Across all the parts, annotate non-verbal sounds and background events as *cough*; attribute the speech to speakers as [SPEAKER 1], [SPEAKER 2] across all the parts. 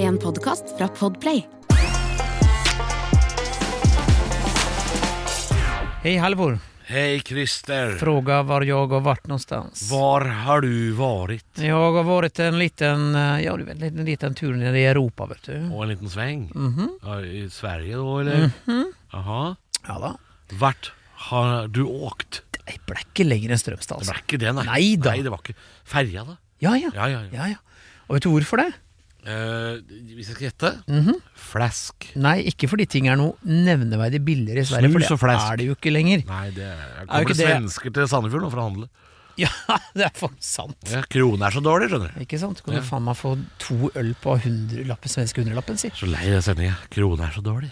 [SPEAKER 1] En podcast fra Podplay
[SPEAKER 2] Hej Halvor,
[SPEAKER 3] Hej Christer!
[SPEAKER 2] fråga var jag har varit någonstans.
[SPEAKER 3] Var har du varit?
[SPEAKER 2] Jag har varit en liten, eh, ja du vet, en liten, liten tur nere i Europa vet du.
[SPEAKER 3] Och en liten sväng?
[SPEAKER 2] Mhm.
[SPEAKER 3] Ja, I Sverige då eller? Jaha.
[SPEAKER 2] Ja da.
[SPEAKER 3] Vart har du åkt?
[SPEAKER 2] Jeg ble ikke lenger enn Strømstad
[SPEAKER 3] Det
[SPEAKER 2] altså.
[SPEAKER 3] var ikke det nei.
[SPEAKER 2] Nei da.
[SPEAKER 3] Nei, det var ikke. Ferja da?
[SPEAKER 2] Ja ja.
[SPEAKER 3] Ja, ja, ja.
[SPEAKER 2] ja, ja. Og vet du hvorfor det?
[SPEAKER 3] Eh, hvis jeg skal gjette? Mhm. Flask.
[SPEAKER 2] Nei, ikke fordi ting er noe nevneverdig billigere i Sverige,
[SPEAKER 3] Snus og
[SPEAKER 2] for det
[SPEAKER 3] flask.
[SPEAKER 2] er det jo ikke lenger.
[SPEAKER 3] Nei, det er,
[SPEAKER 2] Er
[SPEAKER 3] kommer
[SPEAKER 2] jo ikke
[SPEAKER 3] det
[SPEAKER 2] det-
[SPEAKER 3] svensker til Sandefjord nå for å handle.
[SPEAKER 2] *laughs* Ja, det er faktisk sant.
[SPEAKER 3] Ja, krona er så dårlig, skjønner du.
[SPEAKER 2] Ikke sant? Kan
[SPEAKER 3] Ja.
[SPEAKER 2] du faen meg få to øl på 100 lappen, svenske hundrelappen, si.
[SPEAKER 3] Så lei den sendinga. Krona er så dårlig.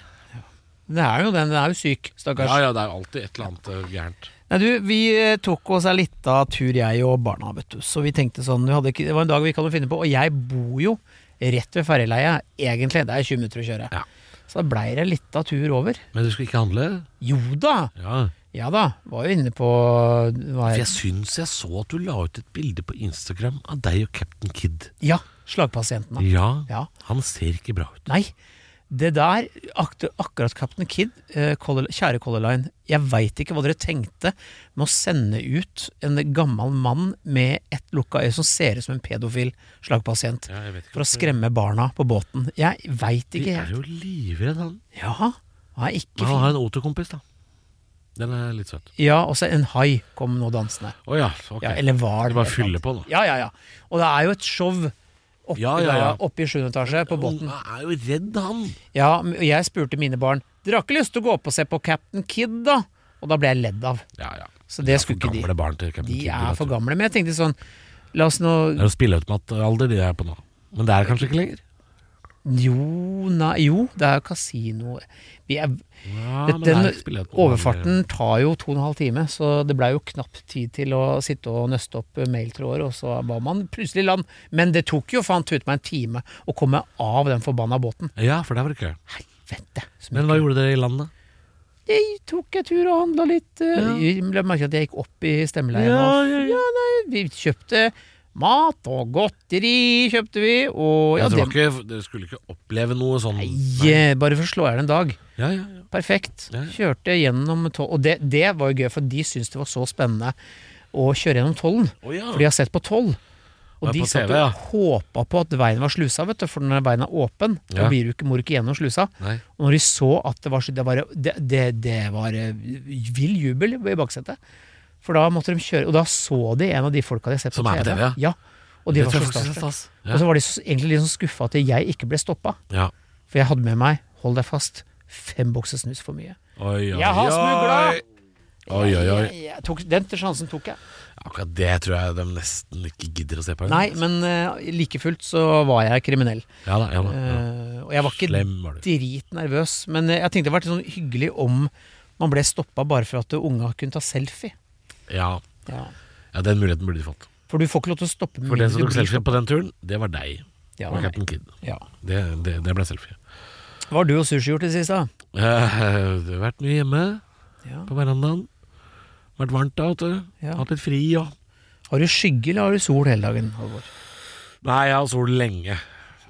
[SPEAKER 2] Det er jo den, den er jo syk, stakkars.
[SPEAKER 3] Ja ja, det er alltid et eller annet eh, gærent.
[SPEAKER 2] Nei, du, vi eh, tok oss en liten tur, jeg og barna, vet du. Så vi tenkte sånn, vi hadde, ikke- det var en dag vi ikke hadde noe å finne på, og jeg bor jo rett ved ferjeleiet, egentlig. Det er 20 minutter å kjøre.
[SPEAKER 3] Ja.
[SPEAKER 2] Så da blei det en liten tur over.
[SPEAKER 3] Men du skulle ikke handle?
[SPEAKER 2] Jo da,
[SPEAKER 3] Ja.
[SPEAKER 2] ja da, var jo inne på var
[SPEAKER 3] For jeg syns jeg så at du la ut et bilde på Instagram av deg og Captain Kid.
[SPEAKER 2] Ja, slagpasientene.
[SPEAKER 3] Ja,
[SPEAKER 2] Ja.
[SPEAKER 3] han ser ikke bra ut.
[SPEAKER 2] Nei, det der, akter, akkurat Captain Kid, eh, Color- kjære Color Line, jeg veit ikke hva dere tenkte med å sende ut en gammel mann med ett lukka øye som ser ut som en pedofil slagpasient.
[SPEAKER 3] jeg vet ikke
[SPEAKER 2] For å skremme barna på båten. Jeg veit
[SPEAKER 3] De
[SPEAKER 2] ikke
[SPEAKER 3] er
[SPEAKER 2] helt.
[SPEAKER 3] jo livredd han.
[SPEAKER 2] Ja, han er ikke
[SPEAKER 3] Men han
[SPEAKER 2] fin.
[SPEAKER 3] har en oterkompis, da. Den er litt søt.
[SPEAKER 2] Ja, og så en hai kom nå dansende.
[SPEAKER 3] Å ja, ok.
[SPEAKER 2] Ja, eller var
[SPEAKER 3] Det
[SPEAKER 2] det
[SPEAKER 3] bare
[SPEAKER 2] et
[SPEAKER 3] fylle
[SPEAKER 2] eller
[SPEAKER 3] på, da.
[SPEAKER 2] annet. Ja, ja, ja. Og det er jo et show oppe,
[SPEAKER 3] Ja, ja, ja.
[SPEAKER 2] da, oppe i sjuende etasje på båten.
[SPEAKER 3] Han er jo redd, han.
[SPEAKER 2] Ja, men jeg spurte mine barn Dere har ikke lyst til å gå opp og se på Captain Kid, da? Og da ble jeg ledd av.
[SPEAKER 3] Ja, ja.
[SPEAKER 2] Så det skulle ikke de.
[SPEAKER 3] de. Gamle barn til Captain
[SPEAKER 2] De
[SPEAKER 3] Kid.
[SPEAKER 2] er
[SPEAKER 3] vet
[SPEAKER 2] for
[SPEAKER 3] du.
[SPEAKER 2] gamle. Men jeg tenkte sånn La oss nå
[SPEAKER 3] Det er jo spilleautomatalder de er på nå. Men det er kanskje ikke lenger?
[SPEAKER 2] Jo, nei Jo, det er jo kasino Vi er
[SPEAKER 3] Ja,
[SPEAKER 2] Det-
[SPEAKER 3] men det er
[SPEAKER 2] den
[SPEAKER 3] ikke spilleautomatalder.
[SPEAKER 2] overfarten tar jo to og en halv time, så det blei jo knapt tid til å sitte og nøste opp eh, mailtråder, og så var man plutselig i land. Men det tok jo faen tute meg en time å komme av den forbanna båten.
[SPEAKER 3] Ja, for der var det kø.
[SPEAKER 2] Helvete. så
[SPEAKER 3] Men hva gjorde dere i landet?
[SPEAKER 2] Jeg tok en tur og handla litt. eh, Jeg la merke til at jeg gikk opp i stemmeleien. og-
[SPEAKER 3] ja,
[SPEAKER 2] ja, nei, vi kjøpte mat og godteri, kjøpte vi, og ja,
[SPEAKER 3] Ja,
[SPEAKER 2] det
[SPEAKER 3] Altså, ikke, dere skulle ikke oppleve noe sånn
[SPEAKER 2] Nei, Bare for å slå i hjel en dag.
[SPEAKER 3] Ja, ja, ja.
[SPEAKER 2] Perfekt.
[SPEAKER 3] Ja.
[SPEAKER 2] Kjørte gjennom tollen. Og det, det var jo gøy, for de syntes det var så spennende å kjøre gjennom tollen.
[SPEAKER 3] Å, ja.
[SPEAKER 2] For de har sett på toll. Og
[SPEAKER 3] Ja,
[SPEAKER 2] de
[SPEAKER 3] på
[SPEAKER 2] satt
[SPEAKER 3] TV, ja.
[SPEAKER 2] og håpa på at veien var slusa, vet du, for når veien er åpen, da
[SPEAKER 3] Ja.
[SPEAKER 2] blir du ikke, må du ikke gjennom slusa.
[SPEAKER 3] Nei.
[SPEAKER 2] Og når de så at det var så Det var, det, det, det var eh, vill jubel i baksetet. For da måtte de kjøre Og da så de en av de folka de har sett
[SPEAKER 3] Som
[SPEAKER 2] på
[SPEAKER 3] er på
[SPEAKER 2] TV.
[SPEAKER 3] TV, ja.
[SPEAKER 2] Og de
[SPEAKER 3] Det
[SPEAKER 2] var
[SPEAKER 3] tror
[SPEAKER 2] så
[SPEAKER 3] jeg faktisk er
[SPEAKER 2] starstruck.
[SPEAKER 3] stas. Ja.
[SPEAKER 2] Og så var de så, egentlig litt sånn skuffa at jeg ikke ble stoppa.
[SPEAKER 3] Ja.
[SPEAKER 2] For jeg hadde med meg, hold deg fast, fem bokser snus for mye.
[SPEAKER 3] Oi, oi,
[SPEAKER 2] Jeg har
[SPEAKER 3] oi.
[SPEAKER 2] smugla!
[SPEAKER 3] Oi, oi, oi.
[SPEAKER 2] Jeg, jeg tok, den til sjansen tok jeg.
[SPEAKER 3] Akkurat det tror jeg de nesten ikke gidder å se på.
[SPEAKER 2] Nei, men eh, like fullt så var jeg kriminell.
[SPEAKER 3] Ja da, ja da, ja.
[SPEAKER 2] Eh, og jeg var ikke
[SPEAKER 3] Slem var du.
[SPEAKER 2] dritnervøs, men eh, jeg tenkte det hadde vært sånn hyggelig om man ble stoppa bare for at unga kunne ta selfie.
[SPEAKER 3] Ja. ja, den muligheten burde de fått.
[SPEAKER 2] For du får ikke lov til å stoppe
[SPEAKER 3] For den som
[SPEAKER 2] du
[SPEAKER 3] tok
[SPEAKER 2] blir
[SPEAKER 3] selfie på den turen, det var deg.
[SPEAKER 2] stoppet. ja,
[SPEAKER 3] og
[SPEAKER 2] nei.
[SPEAKER 3] Captain Kid.
[SPEAKER 2] ja.
[SPEAKER 3] Det, det, det ble selfie.
[SPEAKER 2] Hva har du og sushi gjort i det siste? da?
[SPEAKER 3] Eh, det har vært mye hjemme
[SPEAKER 2] Ja.
[SPEAKER 3] på verandaen. Vært varmt da, vet du.
[SPEAKER 2] Ja.
[SPEAKER 3] Hatt litt fri og
[SPEAKER 2] Har du skygge eller har du sol hele dagen? Halvor?
[SPEAKER 3] Nei, jeg har sol lenge.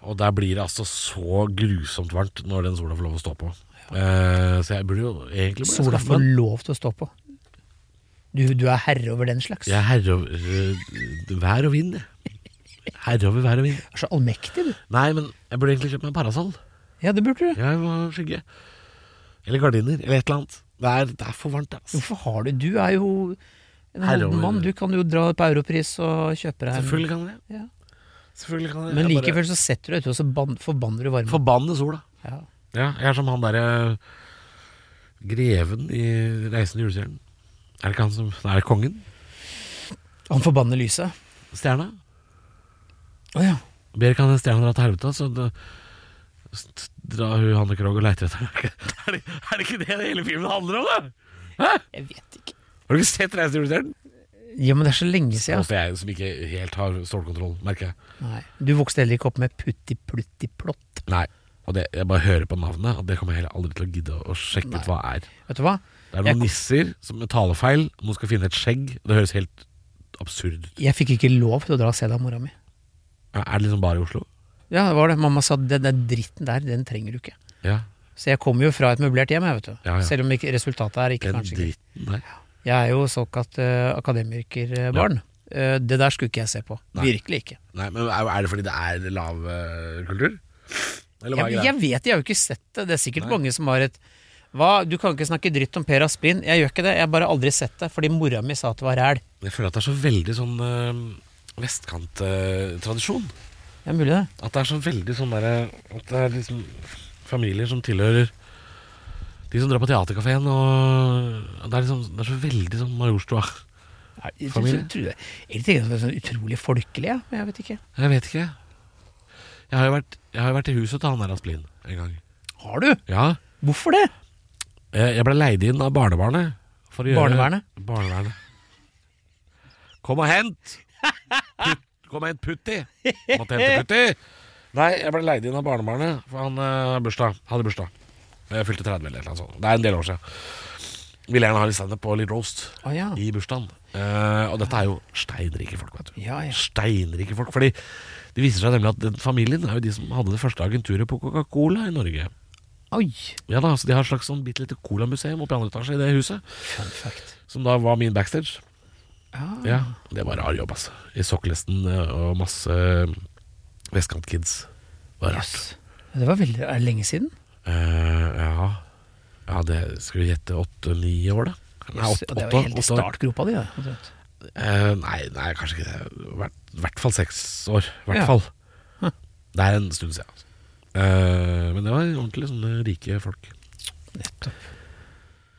[SPEAKER 3] Og der blir det altså så grusomt varmt når den sola får lov å stå på. Eh, så jeg burde jo egentlig burde jeg
[SPEAKER 2] Sola
[SPEAKER 3] skamme
[SPEAKER 2] får
[SPEAKER 3] meg.
[SPEAKER 2] lov til å stå på. Du, du er herre over den slags.
[SPEAKER 3] Jeg er herre over eh, vær og vind, jeg. Herre over vær og vind.
[SPEAKER 2] Du er så allmektig, du.
[SPEAKER 3] Nei, men jeg burde egentlig kjøpt meg en parasoll.
[SPEAKER 2] Ja, det burde du.
[SPEAKER 3] Jeg må ha skygge. Eller gardiner, eller et eller annet. Det er, det er for varmt, ass.
[SPEAKER 2] Hvorfor har du Du er jo en
[SPEAKER 3] Herre
[SPEAKER 2] holden
[SPEAKER 3] over-
[SPEAKER 2] mann. Du kan jo dra på Europris og kjøpe deg en
[SPEAKER 3] Selvfølgelig kan jeg
[SPEAKER 2] Ja.
[SPEAKER 3] Selvfølgelig kan jeg
[SPEAKER 2] Men
[SPEAKER 3] Jeg
[SPEAKER 2] like fullt så setter du deg ut og så ban forbanner du
[SPEAKER 3] bare
[SPEAKER 2] varmen.
[SPEAKER 3] Forbanne sola.
[SPEAKER 2] Ja.
[SPEAKER 3] Ja, jeg er som han derre eh, greven i Reisen til julestjernen. Er det ikke han som Nei, er det kongen?
[SPEAKER 2] Han forbanner lyset.
[SPEAKER 3] Stjerna?
[SPEAKER 2] Å ja.
[SPEAKER 3] Ber ikke han den stjerna dra til helvete, så da st- drar hun Hanne Krogh og leiter etter henne. *laughs* Er det, er det ikke det hele filmen handler om, da? Hæ?
[SPEAKER 2] Jeg vet ikke.
[SPEAKER 3] Har du ikke sett Reisen til julestjernen?
[SPEAKER 2] Ja, men det er så lenge
[SPEAKER 3] Ja.
[SPEAKER 2] siden.
[SPEAKER 3] Også jeg som ikke helt har stålkontroll, merker jeg.
[SPEAKER 2] Nei. Du vokste heller ikke opp med putti plutti plott.
[SPEAKER 3] Nei, og det, jeg bare hører på navnet, og det kommer jeg heller aldri til å gidde å sjekke
[SPEAKER 2] Nei.
[SPEAKER 3] ut hva er.
[SPEAKER 2] Vet du hva?
[SPEAKER 3] Det er
[SPEAKER 2] Jeg
[SPEAKER 3] noen
[SPEAKER 2] kom-
[SPEAKER 3] nisser som med talefeil, noen skal finne et skjegg, og det høres helt absurd ut.
[SPEAKER 2] Jeg fikk ikke lov til å dra og se deg av mora mi.
[SPEAKER 3] Er det liksom bare i Oslo?
[SPEAKER 2] Ja, det var det. Mamma sa den der dritten der, den trenger du ikke.
[SPEAKER 3] Ja,
[SPEAKER 2] Så jeg kommer jo fra et møblert hjem, jeg, vet du.
[SPEAKER 3] Ja, ja.
[SPEAKER 2] Selv om ikke, resultatet er ikke
[SPEAKER 3] den
[SPEAKER 2] kanskje ikke.
[SPEAKER 3] dritten der.
[SPEAKER 2] Jeg er jo såkalt eh, akademikerbarn. Eh, det der skulle ikke jeg se på.
[SPEAKER 3] Nei.
[SPEAKER 2] Virkelig ikke.
[SPEAKER 3] Nei, men er er det fordi det er lav eh, kultur? Eller
[SPEAKER 2] Jeg,
[SPEAKER 3] hva er greia?
[SPEAKER 2] jeg vet, jeg har jo ikke sett det. Det er sikkert
[SPEAKER 3] Nei.
[SPEAKER 2] mange som har et hva, Du kan ikke snakke dritt om Per Aspin. Jeg gjør ikke det. Jeg har bare aldri sett det, fordi mora mi sa at det var ræl.
[SPEAKER 3] Jeg føler at det er så veldig sånn eh, vestkanttradisjon.
[SPEAKER 2] Det er mulig, det.
[SPEAKER 3] At det er så veldig sånn derre At det er liksom familier som tilhører De som drar på teaterkafeen og Det er liksom Det er så veldig sånn Majorstua.
[SPEAKER 2] Nei, jeg tror-
[SPEAKER 3] Familie?
[SPEAKER 2] tror det- Jeg tenker at det er så utrolig folkelig, ja, men jeg vet ikke.
[SPEAKER 3] Jeg vet ikke. Jeg har jo vært, jeg har jo vært i huset til han der Asplin en gang.
[SPEAKER 2] Har du?
[SPEAKER 3] Ja.
[SPEAKER 2] Hvorfor det?
[SPEAKER 3] Eh, Jeg ble leid inn av barnevernet. for å gjøre-
[SPEAKER 2] Barnevernet?
[SPEAKER 3] Barnevernet. Kom og hent! Put, kom og hent Putti! Måtte hente Putti! Nei, jeg ble leid inn av barnevernet, for han eh, bursdag. hadde bursdag. Jeg fylte 30 eller et eller annet sånt. Det er en del år siden. Ville gjerne ha litt standup og litt roast
[SPEAKER 2] Å ja.
[SPEAKER 3] i bursdagen. Eh, og dette er jo steinrike folk, vet du.
[SPEAKER 2] Ja, ja.
[SPEAKER 3] Steinrike folk. Fordi det viser seg nemlig at den familien er jo de som hadde det første agenturet på Coca-Cola i Norge.
[SPEAKER 2] Oi.
[SPEAKER 3] Ja da, så De har et slags sånn bitte lite colamuseum oppe i andre etasje i det huset.
[SPEAKER 2] Fun fact.
[SPEAKER 3] Som da var min backstage.
[SPEAKER 2] Ah.
[SPEAKER 3] Ja, Det var rar jobb, altså. I sokkelesten eh, og masse vestkantkids. Det var rart.
[SPEAKER 2] Jøss. Det var veldig er det lenge siden.
[SPEAKER 3] Eh, ja. ja, det skal vi gjette åtte-ni år, da? Nei,
[SPEAKER 2] Jøss,
[SPEAKER 3] åtte,
[SPEAKER 2] og det
[SPEAKER 3] åtte-
[SPEAKER 2] var helt i
[SPEAKER 3] åtte år.
[SPEAKER 2] startgropa di. da, omtrent.
[SPEAKER 3] Eh, nei, nei, kanskje ikke det. I hvert, hvert fall seks år. Hvert
[SPEAKER 2] Ja.
[SPEAKER 3] fall.
[SPEAKER 2] Hm.
[SPEAKER 3] Det er en stund siden. Altså. Eh, men det var ordentlig sånne rike folk.
[SPEAKER 2] Nettopp.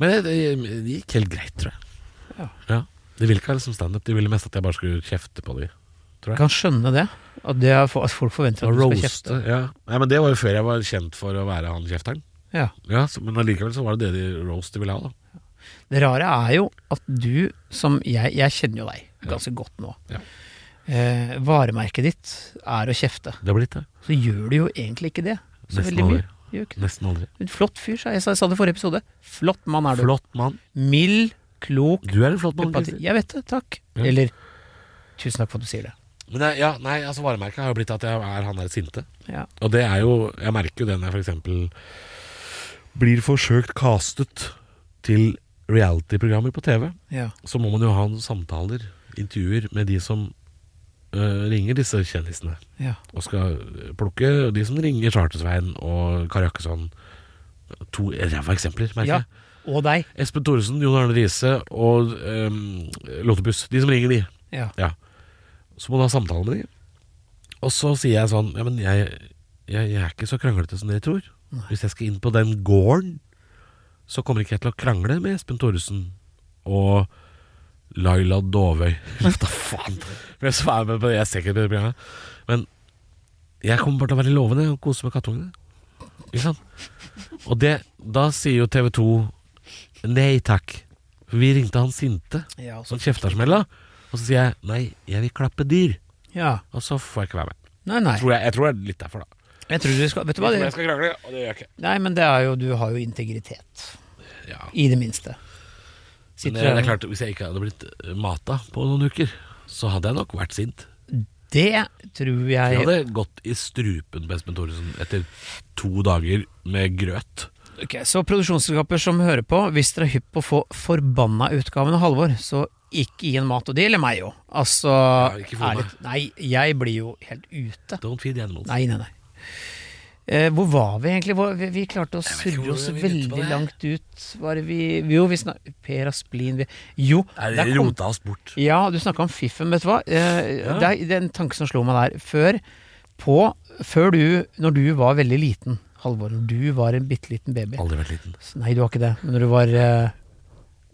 [SPEAKER 3] Men det, det, det gikk helt greit, tror jeg.
[SPEAKER 2] Ja.
[SPEAKER 3] De ville ikke ha liksom standup, de ville mest at jeg bare skulle kjefte på dem.
[SPEAKER 2] Jeg kan skjønne det. At, det er for, at folk forventer at
[SPEAKER 3] Og
[SPEAKER 2] du skal kjefte.
[SPEAKER 3] roaste. Ja. Nei, men det var jo før jeg var kjent for å være han kjefteren.
[SPEAKER 2] Ja.
[SPEAKER 3] Ja, så, men allikevel så var det det de roast de ville ha, da.
[SPEAKER 2] Det rare er jo at du, som jeg Jeg kjenner jo deg ganske godt nå.
[SPEAKER 3] Ja.
[SPEAKER 2] Eh, varemerket ditt er å kjefte.
[SPEAKER 3] Det har blitt det.
[SPEAKER 2] Så gjør du jo egentlig ikke det. Så
[SPEAKER 3] Nesten
[SPEAKER 2] veldig mye.
[SPEAKER 3] aldri.
[SPEAKER 2] Gjør ikke det.
[SPEAKER 3] Nesten aldri.
[SPEAKER 2] En flott fyr, sa jeg. Jeg sa- jeg sa det i forrige episode. Flott mann er du.
[SPEAKER 3] Flott mann.
[SPEAKER 2] Mild, klok,
[SPEAKER 3] Du er en flott mann.
[SPEAKER 2] empati.
[SPEAKER 3] Christer.
[SPEAKER 2] Jeg vet det, takk.
[SPEAKER 3] Ja.
[SPEAKER 2] Eller tusen takk for at du sier det.
[SPEAKER 3] Men det, ja, nei, altså varemerket har jo blitt at jeg er han der sinte.
[SPEAKER 2] Ja.
[SPEAKER 3] Og det er jo Jeg merker jo det når jeg f.eks. blir forsøkt castet til reality-programmer på TV.
[SPEAKER 2] ja.
[SPEAKER 3] så må man jo ha noen samtaler, intervjuer, med de som øh, ringer disse kjendisene.
[SPEAKER 2] ja.
[SPEAKER 3] Og skal øh, plukke de som ringer Charter-Svein og Kari Jakkesson. To ræva eksempler, merker
[SPEAKER 2] Ja.
[SPEAKER 3] jeg.
[SPEAKER 2] Og deg.
[SPEAKER 3] Espen Thoresen, Jon Arne Riise og øhm, Lottebuss. De som ringer, de.
[SPEAKER 2] Ja.
[SPEAKER 3] Ja. Så må du ha samtale med de. Og så sier jeg sånn Ja, men jeg, jeg, jeg er ikke så kranglete som dere tror.
[SPEAKER 2] Nei.
[SPEAKER 3] Hvis jeg skal inn på den gården, så kommer ikke jeg til å krangle med Espen Thoresen og Laila Dovøy. *laughs* Hva faen? For Jeg svarer med på det, jeg ser ikke på det programmet. Men jeg kommer bare til å være lovende og kose med kattungene. Ikke sant? Og det, da sier jo TV 2 nei takk. For vi ringte han sinte
[SPEAKER 2] Ja, altså.
[SPEAKER 3] sånn kjeftersmella. Og så sier jeg nei, jeg vil klappe dyr.
[SPEAKER 2] ja.
[SPEAKER 3] Og så får jeg ikke være med.
[SPEAKER 2] Nei, nei.
[SPEAKER 3] Tror jeg, jeg tror det er litt derfor, da.
[SPEAKER 2] Jeg tror du skal Vet du hva?
[SPEAKER 3] Jeg tror
[SPEAKER 2] Det,
[SPEAKER 3] jeg skal krangle, og det gjør jeg ikke.
[SPEAKER 2] nei, men det er jo Du har jo integritet.
[SPEAKER 3] Ja.
[SPEAKER 2] I det minste.
[SPEAKER 3] Men
[SPEAKER 2] Sitter
[SPEAKER 3] det, det er
[SPEAKER 2] her-
[SPEAKER 3] klart, Hvis jeg ikke hadde blitt mata på noen uker, så hadde jeg nok vært sint.
[SPEAKER 2] Det tror jeg
[SPEAKER 3] Jeg hadde gått i strupen på Espen Thoresen etter to dager med grøt.
[SPEAKER 2] Ok, Så produksjonsselskaper som hører på, hvis dere er hypp på å få forbanna utgaven av Halvor, så ikke gi en mat, og det gjelder meg jo. Altså,
[SPEAKER 3] ikke for meg.
[SPEAKER 2] ærlig- Nei, jeg blir jo helt ute.
[SPEAKER 3] Don't feed the animals.
[SPEAKER 2] Nei, nei, nei. Eh, hvor var vi egentlig? Hvor, vi, vi klarte å
[SPEAKER 3] vet ikke
[SPEAKER 2] surre
[SPEAKER 3] hvor
[SPEAKER 2] oss
[SPEAKER 3] vi begynte på
[SPEAKER 2] veldig
[SPEAKER 3] det.
[SPEAKER 2] langt ut. Var det vi Jo, vi snak... Per Asplin vi, Jo,
[SPEAKER 3] Er
[SPEAKER 2] der
[SPEAKER 3] det
[SPEAKER 2] kom-
[SPEAKER 3] rota oss bort.
[SPEAKER 2] ja, du snakka om fiffen, vet du hva. Eh,
[SPEAKER 3] Ja.
[SPEAKER 2] det, er, det er en tanke som slo meg der. Før, på, før du, når du var veldig liten, Halvor, når du var en bitte liten baby
[SPEAKER 3] Aldri vært liten.
[SPEAKER 2] Nei, du var ikke det, men når du var, eh,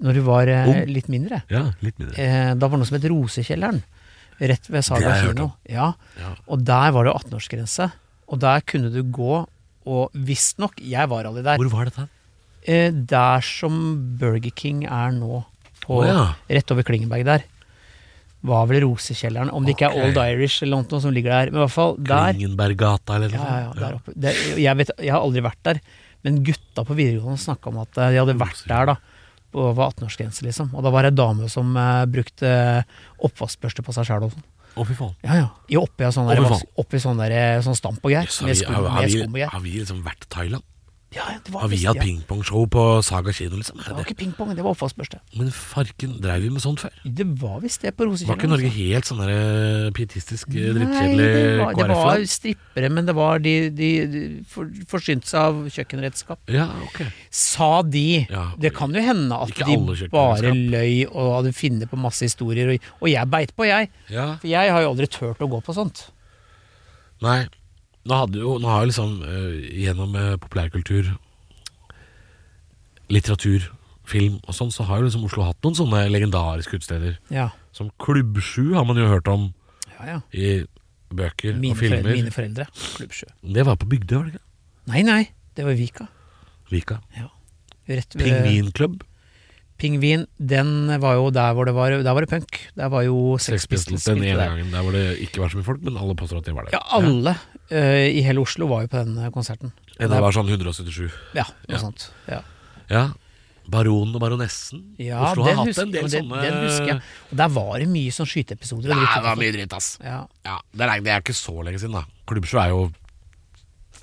[SPEAKER 2] når du var eh,
[SPEAKER 3] Ung.
[SPEAKER 2] litt mindre,
[SPEAKER 3] Ja, litt mindre.
[SPEAKER 2] eh, da var det noe som het Rosekjelleren. Rett ved
[SPEAKER 3] Det
[SPEAKER 2] Saga
[SPEAKER 3] har jeg hørt
[SPEAKER 2] kino. Ja,
[SPEAKER 3] Ja.
[SPEAKER 2] og der var det 18-årsgrense. Og der kunne du gå, og visstnok, jeg var aldri der,
[SPEAKER 3] Hvor var dette?
[SPEAKER 2] eh, der som Burger King er nå, på,
[SPEAKER 3] Å ja.
[SPEAKER 2] rett over Klingenberg der, var vel Rosekjelleren. Om det ikke
[SPEAKER 3] Ok.
[SPEAKER 2] er Old Irish eller noe som ligger der, men i hvert fall der.
[SPEAKER 3] Klingenberggata eller
[SPEAKER 2] Ja,
[SPEAKER 3] noe
[SPEAKER 2] ja, ja,
[SPEAKER 3] sånt?
[SPEAKER 2] der oppe. Det, jeg, vet, jeg har aldri vært der, men gutta på videregående snakka om at eh, de hadde vært der da. Og var 18-årsgrense, liksom. Og da var det ei dame som eh, brukte eh, oppvaskbørste på seg sjæl og sånn.
[SPEAKER 3] Å, fy faen.
[SPEAKER 2] Ja, ja. Jo, oppi av sånn der,
[SPEAKER 3] Å, fy
[SPEAKER 2] vas-
[SPEAKER 3] faen.
[SPEAKER 2] oppi sånn der sånn stamp og greier.
[SPEAKER 3] Jøss,
[SPEAKER 2] Med
[SPEAKER 3] har,
[SPEAKER 2] skum
[SPEAKER 3] vi, har,
[SPEAKER 2] med skum og
[SPEAKER 3] vi,
[SPEAKER 2] greier.
[SPEAKER 3] har vi liksom vært i Thailand?
[SPEAKER 2] Ja, ja, det var
[SPEAKER 3] Har vi
[SPEAKER 2] visst-
[SPEAKER 3] hatt
[SPEAKER 2] ja.
[SPEAKER 3] pingpongshow på Saga kino, liksom?
[SPEAKER 2] Det
[SPEAKER 3] Er
[SPEAKER 2] var
[SPEAKER 3] det?
[SPEAKER 2] ikke pingpong, det var oppvaskbørste.
[SPEAKER 3] Men farken, dreiv vi med sånt før?
[SPEAKER 2] Det var visst det på
[SPEAKER 3] Var
[SPEAKER 2] Rosekjelleren. altså.
[SPEAKER 3] ikke Norge helt sånn der pietistisk, eh,
[SPEAKER 2] Nei, det
[SPEAKER 3] drittkjedelig
[SPEAKER 2] var, det var
[SPEAKER 3] KrF-land?
[SPEAKER 2] strippere, men det var de, de, de for, forsynte seg av kjøkkenredskap.
[SPEAKER 3] Ja, ok.
[SPEAKER 2] Sa de.
[SPEAKER 3] Ja.
[SPEAKER 2] det kan jo hende at
[SPEAKER 3] Ikke
[SPEAKER 2] de
[SPEAKER 3] alle kjøkkenredskap.
[SPEAKER 2] bare løy og hadde funnet på masse historier, og, og jeg beit på, jeg.
[SPEAKER 3] Ja.
[SPEAKER 2] For jeg har jo aldri turt å gå på sånt.
[SPEAKER 3] Nei, nå, hadde jo, nå har jo liksom eh, gjennom eh, populærkultur, litteratur, film og sånn, så har jo liksom Oslo hatt noen sånne legendariske utesteder.
[SPEAKER 2] Ja,
[SPEAKER 3] Som Klubb 7 har man jo hørt om
[SPEAKER 2] ja, ja.
[SPEAKER 3] i bøker
[SPEAKER 2] Mine,
[SPEAKER 3] og
[SPEAKER 2] foreldre,
[SPEAKER 3] filmer.
[SPEAKER 2] mine foreldre. Klubb Sjø.
[SPEAKER 3] Det var på Bygdøy, var det ikke?
[SPEAKER 2] Nei, nei, det var Vika.
[SPEAKER 3] Vika.
[SPEAKER 2] Ja. Rett ved
[SPEAKER 3] Pingvinklubb.
[SPEAKER 2] Pingvin, den var jo der hvor det var Der var det punk. Der var jo Sex
[SPEAKER 3] Sex Pistols den ene gangen der hvor det ikke var så mye folk, men alle påstår at de var der.
[SPEAKER 2] Ja, alle eh, i hele Oslo var jo på den eh, konserten.
[SPEAKER 3] Ja, Det var sånn 177.
[SPEAKER 2] Ja, noe
[SPEAKER 3] Ja.
[SPEAKER 2] sånt. Ja,
[SPEAKER 3] Ja. Baronen og baronessen.
[SPEAKER 2] ja
[SPEAKER 3] Oslo har hatt
[SPEAKER 2] husker-
[SPEAKER 3] en del
[SPEAKER 2] den,
[SPEAKER 3] sånne
[SPEAKER 2] Den husker jeg. Og der var det mye sånn skyteepisoder. og
[SPEAKER 3] Nei,
[SPEAKER 2] dritt,
[SPEAKER 3] det var
[SPEAKER 2] altså.
[SPEAKER 3] mye dritt, ass.
[SPEAKER 2] Ja,
[SPEAKER 3] Ja, det er, det er ikke så lenge siden, da. Klubbsjø er jo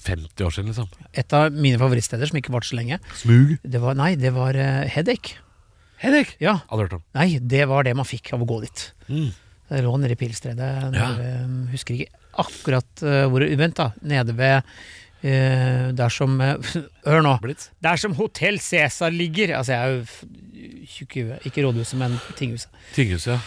[SPEAKER 3] 50 år siden, liksom.
[SPEAKER 2] Et av mine favorittsteder som ikke varte så lenge,
[SPEAKER 3] Smug.
[SPEAKER 2] det var Nei, det var eh, Headache.
[SPEAKER 3] Henrik!
[SPEAKER 2] Ja.
[SPEAKER 3] Aldri hørt om.
[SPEAKER 2] Nei, det var det man fikk av å gå dit.
[SPEAKER 3] Mm.
[SPEAKER 2] Det lå nede i Pilstredet.
[SPEAKER 3] Ja.
[SPEAKER 2] nede ved- Husker ikke akkurat eh, hvor det Vent, da. Nede ved eh, Der som eh, *laughs* Hør nå.
[SPEAKER 3] Blitz.
[SPEAKER 2] Der som Hotell Cæsar ligger. Altså, jeg er jo f- tjukk i huet. Ikke rådhuset, men tinghuset.
[SPEAKER 3] Tinghuset, ja.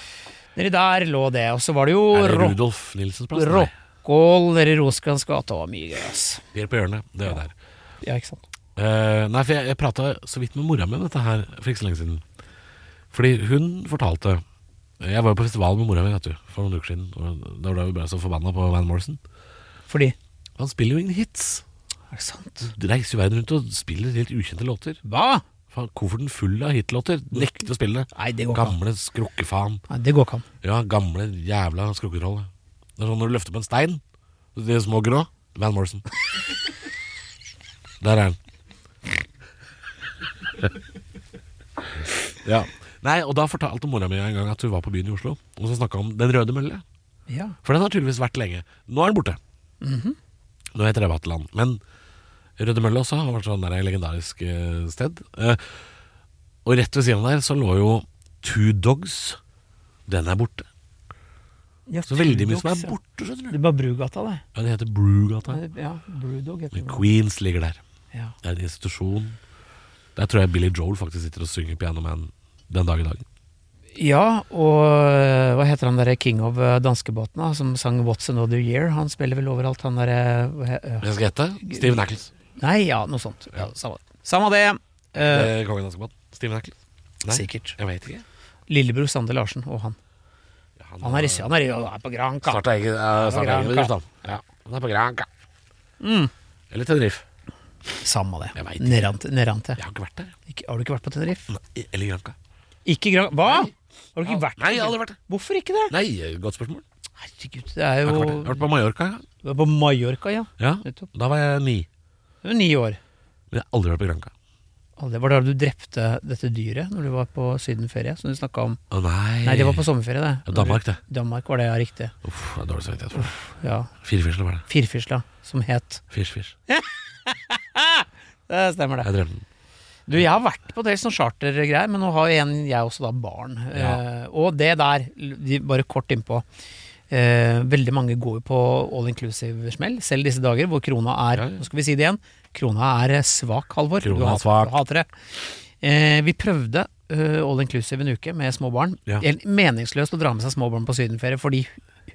[SPEAKER 2] Nedi der lå det. Og så var det jo
[SPEAKER 3] Er det
[SPEAKER 2] Rock-
[SPEAKER 3] Rudolf Nilsens plass? Nei,
[SPEAKER 2] Rockall nede i Roskrands gate. Det var mye gøy, ass.
[SPEAKER 3] de er på hjørnet. Det er jo
[SPEAKER 2] Ja.
[SPEAKER 3] der.
[SPEAKER 2] Ja, ikke sant.
[SPEAKER 3] Eh, nei, for jeg, jeg prata så vidt med mora mi om dette her for ikke så lenge siden. Fordi hun fortalte Jeg var jo på festival med mora mi vet du, for noen uker siden. Og da ble vi bare så forbanna på Van Morrison.
[SPEAKER 2] Fordi
[SPEAKER 3] Han spiller jo ingen hits.
[SPEAKER 2] Er det sant?
[SPEAKER 3] Du reiser jo verden rundt og spiller helt ukjente låter.
[SPEAKER 2] Hva?
[SPEAKER 3] Faen, Kofferten full av hitlåter. Nekter å spille det.
[SPEAKER 2] Nei, det går ikke an.
[SPEAKER 3] Gamle skrukkefaen.
[SPEAKER 2] Nei, det går ikke an.
[SPEAKER 3] Ja, gamle jævla skrukketroll. Det er sånn når du løfter på en stein, de små grå Van Morrison. Der er han. ja. Nei, og da fortalte mora mi en gang at hun var på byen i Oslo, og så snakka om Den røde mølle.
[SPEAKER 2] Ja.
[SPEAKER 3] For den har tydeligvis vært lenge. Nå er den borte. Nå heter det Vaterland. Men Røde Mølle også har vært sånn der legendarisk eh, sted. Eh, og rett ved siden av der så lå jo Two Dogs. Den er borte.
[SPEAKER 2] Ja,
[SPEAKER 3] Så veldig mye
[SPEAKER 2] Trudox, ja.
[SPEAKER 3] som er borte, skjønner du.
[SPEAKER 2] Det var Brugata, det.
[SPEAKER 3] Ja, det heter Brugata.
[SPEAKER 2] Ja, Brewdog heter
[SPEAKER 3] Men
[SPEAKER 2] det.
[SPEAKER 3] Queens ligger der.
[SPEAKER 2] Ja.
[SPEAKER 3] Det er en institusjon. Der tror jeg Billy Joel faktisk sitter og synger Piano Man den dag i dag.
[SPEAKER 2] Ja, og øh, hva heter han derre king of øh, danskebåten, da, som sang What's Another Year? Han spiller vel overalt, han derre hva he- øh,
[SPEAKER 3] Jeg skal hete Steve Nackles.
[SPEAKER 2] Nei, ja, noe sånt. Ja, samme det. Samme det. øh,
[SPEAKER 3] Eh, Kongen av Azkaban. Steve Nackles. Nei,
[SPEAKER 2] Sikkert.
[SPEAKER 3] jeg vet ikke.
[SPEAKER 2] Lillebror Sander Larsen og han. Han er, i- han er, i- han er på Granca.
[SPEAKER 3] Starta egen, eh, starta
[SPEAKER 2] Granca.
[SPEAKER 3] egen bedrift, da. Mm. Ja. Han er på Granca. Eller Tenerife.
[SPEAKER 2] Samme det.
[SPEAKER 3] Jeg vet ikke.
[SPEAKER 2] Nerante. Nerante.
[SPEAKER 3] Jeg har ikke vært der.
[SPEAKER 2] Ikke, har du ikke vært på Tenerife?
[SPEAKER 3] Nei, Eller Granca.
[SPEAKER 2] Mm. Ikke Gran... Hva?! Har du ikke vært
[SPEAKER 3] Nei, jeg har aldri vært der.
[SPEAKER 2] Hvorfor ikke det?
[SPEAKER 3] Nei, godt spørsmål. Jeg
[SPEAKER 2] Herregud, det er
[SPEAKER 3] har,
[SPEAKER 2] jo
[SPEAKER 3] ikke vært der. jeg har vært på Mallorca. ja.
[SPEAKER 2] Du er på Mallorca, ja.
[SPEAKER 3] Ja,
[SPEAKER 2] Nettopp.
[SPEAKER 3] Da var jeg ni.
[SPEAKER 2] Du er ni år.
[SPEAKER 3] Men jeg har aldri vært på Granca.
[SPEAKER 2] Aldri. Var det da du drepte dette dyret når du var på sydenferie, som du snakka om?
[SPEAKER 3] Å nei.
[SPEAKER 2] Nei, det var på sommerferie, det.
[SPEAKER 3] Ja, Danmark, det.
[SPEAKER 2] Danmark var det, ja, riktig.
[SPEAKER 3] Uff, det er dårlig samvittighet for det.
[SPEAKER 2] Ja.
[SPEAKER 3] Firefisla var det.
[SPEAKER 2] Firfisla, som het
[SPEAKER 3] Fish, fish.
[SPEAKER 2] Det stemmer, det.
[SPEAKER 3] Jeg drømte den.
[SPEAKER 2] Du, jeg har vært på en del sånn chartergreier, men nå har jo en jeg også da barn.
[SPEAKER 3] Ja.
[SPEAKER 2] Eh, og det der, de- bare kort innpå. Eh, veldig mange går jo på all inclusive-smell, selv disse dager hvor krona er
[SPEAKER 3] Ja, ja.
[SPEAKER 2] Nå skal vi si det igjen. Krona er eh, svak, Halvor.
[SPEAKER 3] Krona
[SPEAKER 2] du
[SPEAKER 3] er
[SPEAKER 2] hat-
[SPEAKER 3] svak.
[SPEAKER 2] du hater det. Eh, vi prøvde eh, all inclusive en uke med små barn.
[SPEAKER 3] Ja.
[SPEAKER 2] Helt meningsløst å dra med seg små barn på sydenferie, for de